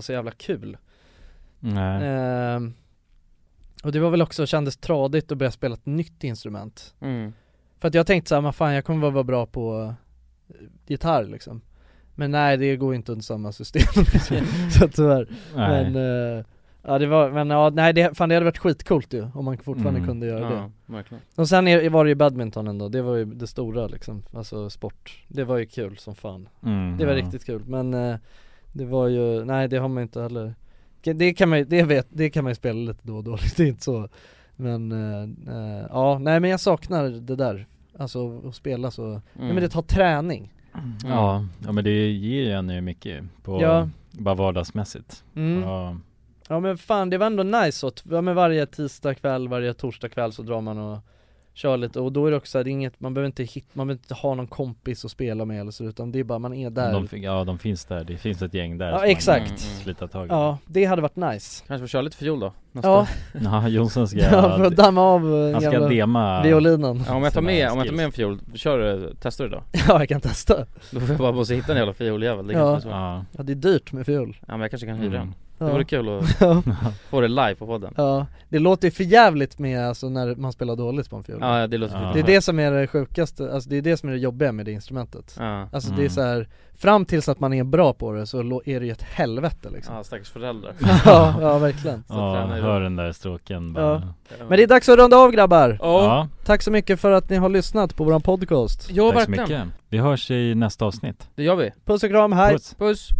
S2: så jävla kul
S3: Nej.
S2: Ehm, Och det var väl också, kändes tradigt att börja spela ett nytt instrument
S7: Mm.
S2: För att jag tänkte såhär, "Men fan jag kommer bara vara bra på eh, gitarr liksom Men nej det går ju inte under samma system så att tyvärr
S3: Nej.
S2: Men, eh, ja det var, men ja, nej det, fan det hade varit skitcoolt ju om man fortfarande
S3: Mm.
S2: kunde göra
S7: Ja,
S2: det
S7: verkligen.
S2: Och sen är, var det ju badmintonen då, det var ju det stora liksom, alltså sport Det var ju kul som fan
S3: Mm,
S2: Det var
S3: ja.
S2: riktigt kul men eh, det var ju, nej det har man inte heller Det kan man ju, det vet, det kan man ju spela lite då och då, det är inte så Men, eh, eh, ja nej men jag saknar det där Alltså att spela så, nej men det tar träning
S7: Mm.
S3: Ja, ja men det ger ju en ju mycket på,
S2: Ja.
S3: bara vardagsmässigt
S2: Mm.
S3: ja.
S2: Ja men fan det var ändå nice så, att- ja, men varje tisdag kväll, varje torsdag kväll så drar man och kör lite och då är det också så här, det är inget, man behöver inte hit, man behöver inte ha någon kompis att spela med eller så utan det är bara man är där
S3: De, fin- ja de finns där, det finns ett gäng där
S2: Ja,
S3: som man
S2: exakt.
S3: kan Slita tag i
S2: Ja, det hade varit nice
S7: Kanske får köra lite fiol då?
S2: Ja.
S3: Ja, Jonsson ska
S2: Ja, för att damma av eh,
S3: Han ska
S2: jävla
S3: dema
S2: violinen
S7: Ja, om jag tar med, om jag tar med en fiol, kör du, testar du då?
S2: Ja jag kan testa
S7: Då får jag bara måste hitta en jävla fioljävel, det
S2: ja.
S7: kanske är så
S2: ja det är dyrt med fiol
S7: Ja men jag kanske kan hyra en
S3: Mm.
S1: Det vore kul
S2: Ja.
S1: att få det live på podden
S2: Ja, det låter ju för jävligt med alltså när man spelar dåligt på en fiol
S1: Ja, det låter för
S2: Det är
S1: jävligt.
S2: det som är det sjukaste, alltså det är det som är det jobbiga med det instrumentet
S1: Ja.
S2: Alltså det är
S1: Mm.
S2: så här, fram tills att man är bra på det så lå- är det ju ett helvete liksom
S1: Ja, stackars föräldrar
S2: Ja, ja verkligen
S3: Ja, hör den där stråken bara
S2: Ja. Men det är dags att runda av grabbar!
S3: Ja. Ja.
S2: Tack så mycket för att ni har lyssnat på våran podcast
S1: Ja,
S3: Tack så mycket. Vi hörs i nästa avsnitt
S1: Det gör vi
S2: Puss och kram, hej!
S1: Puss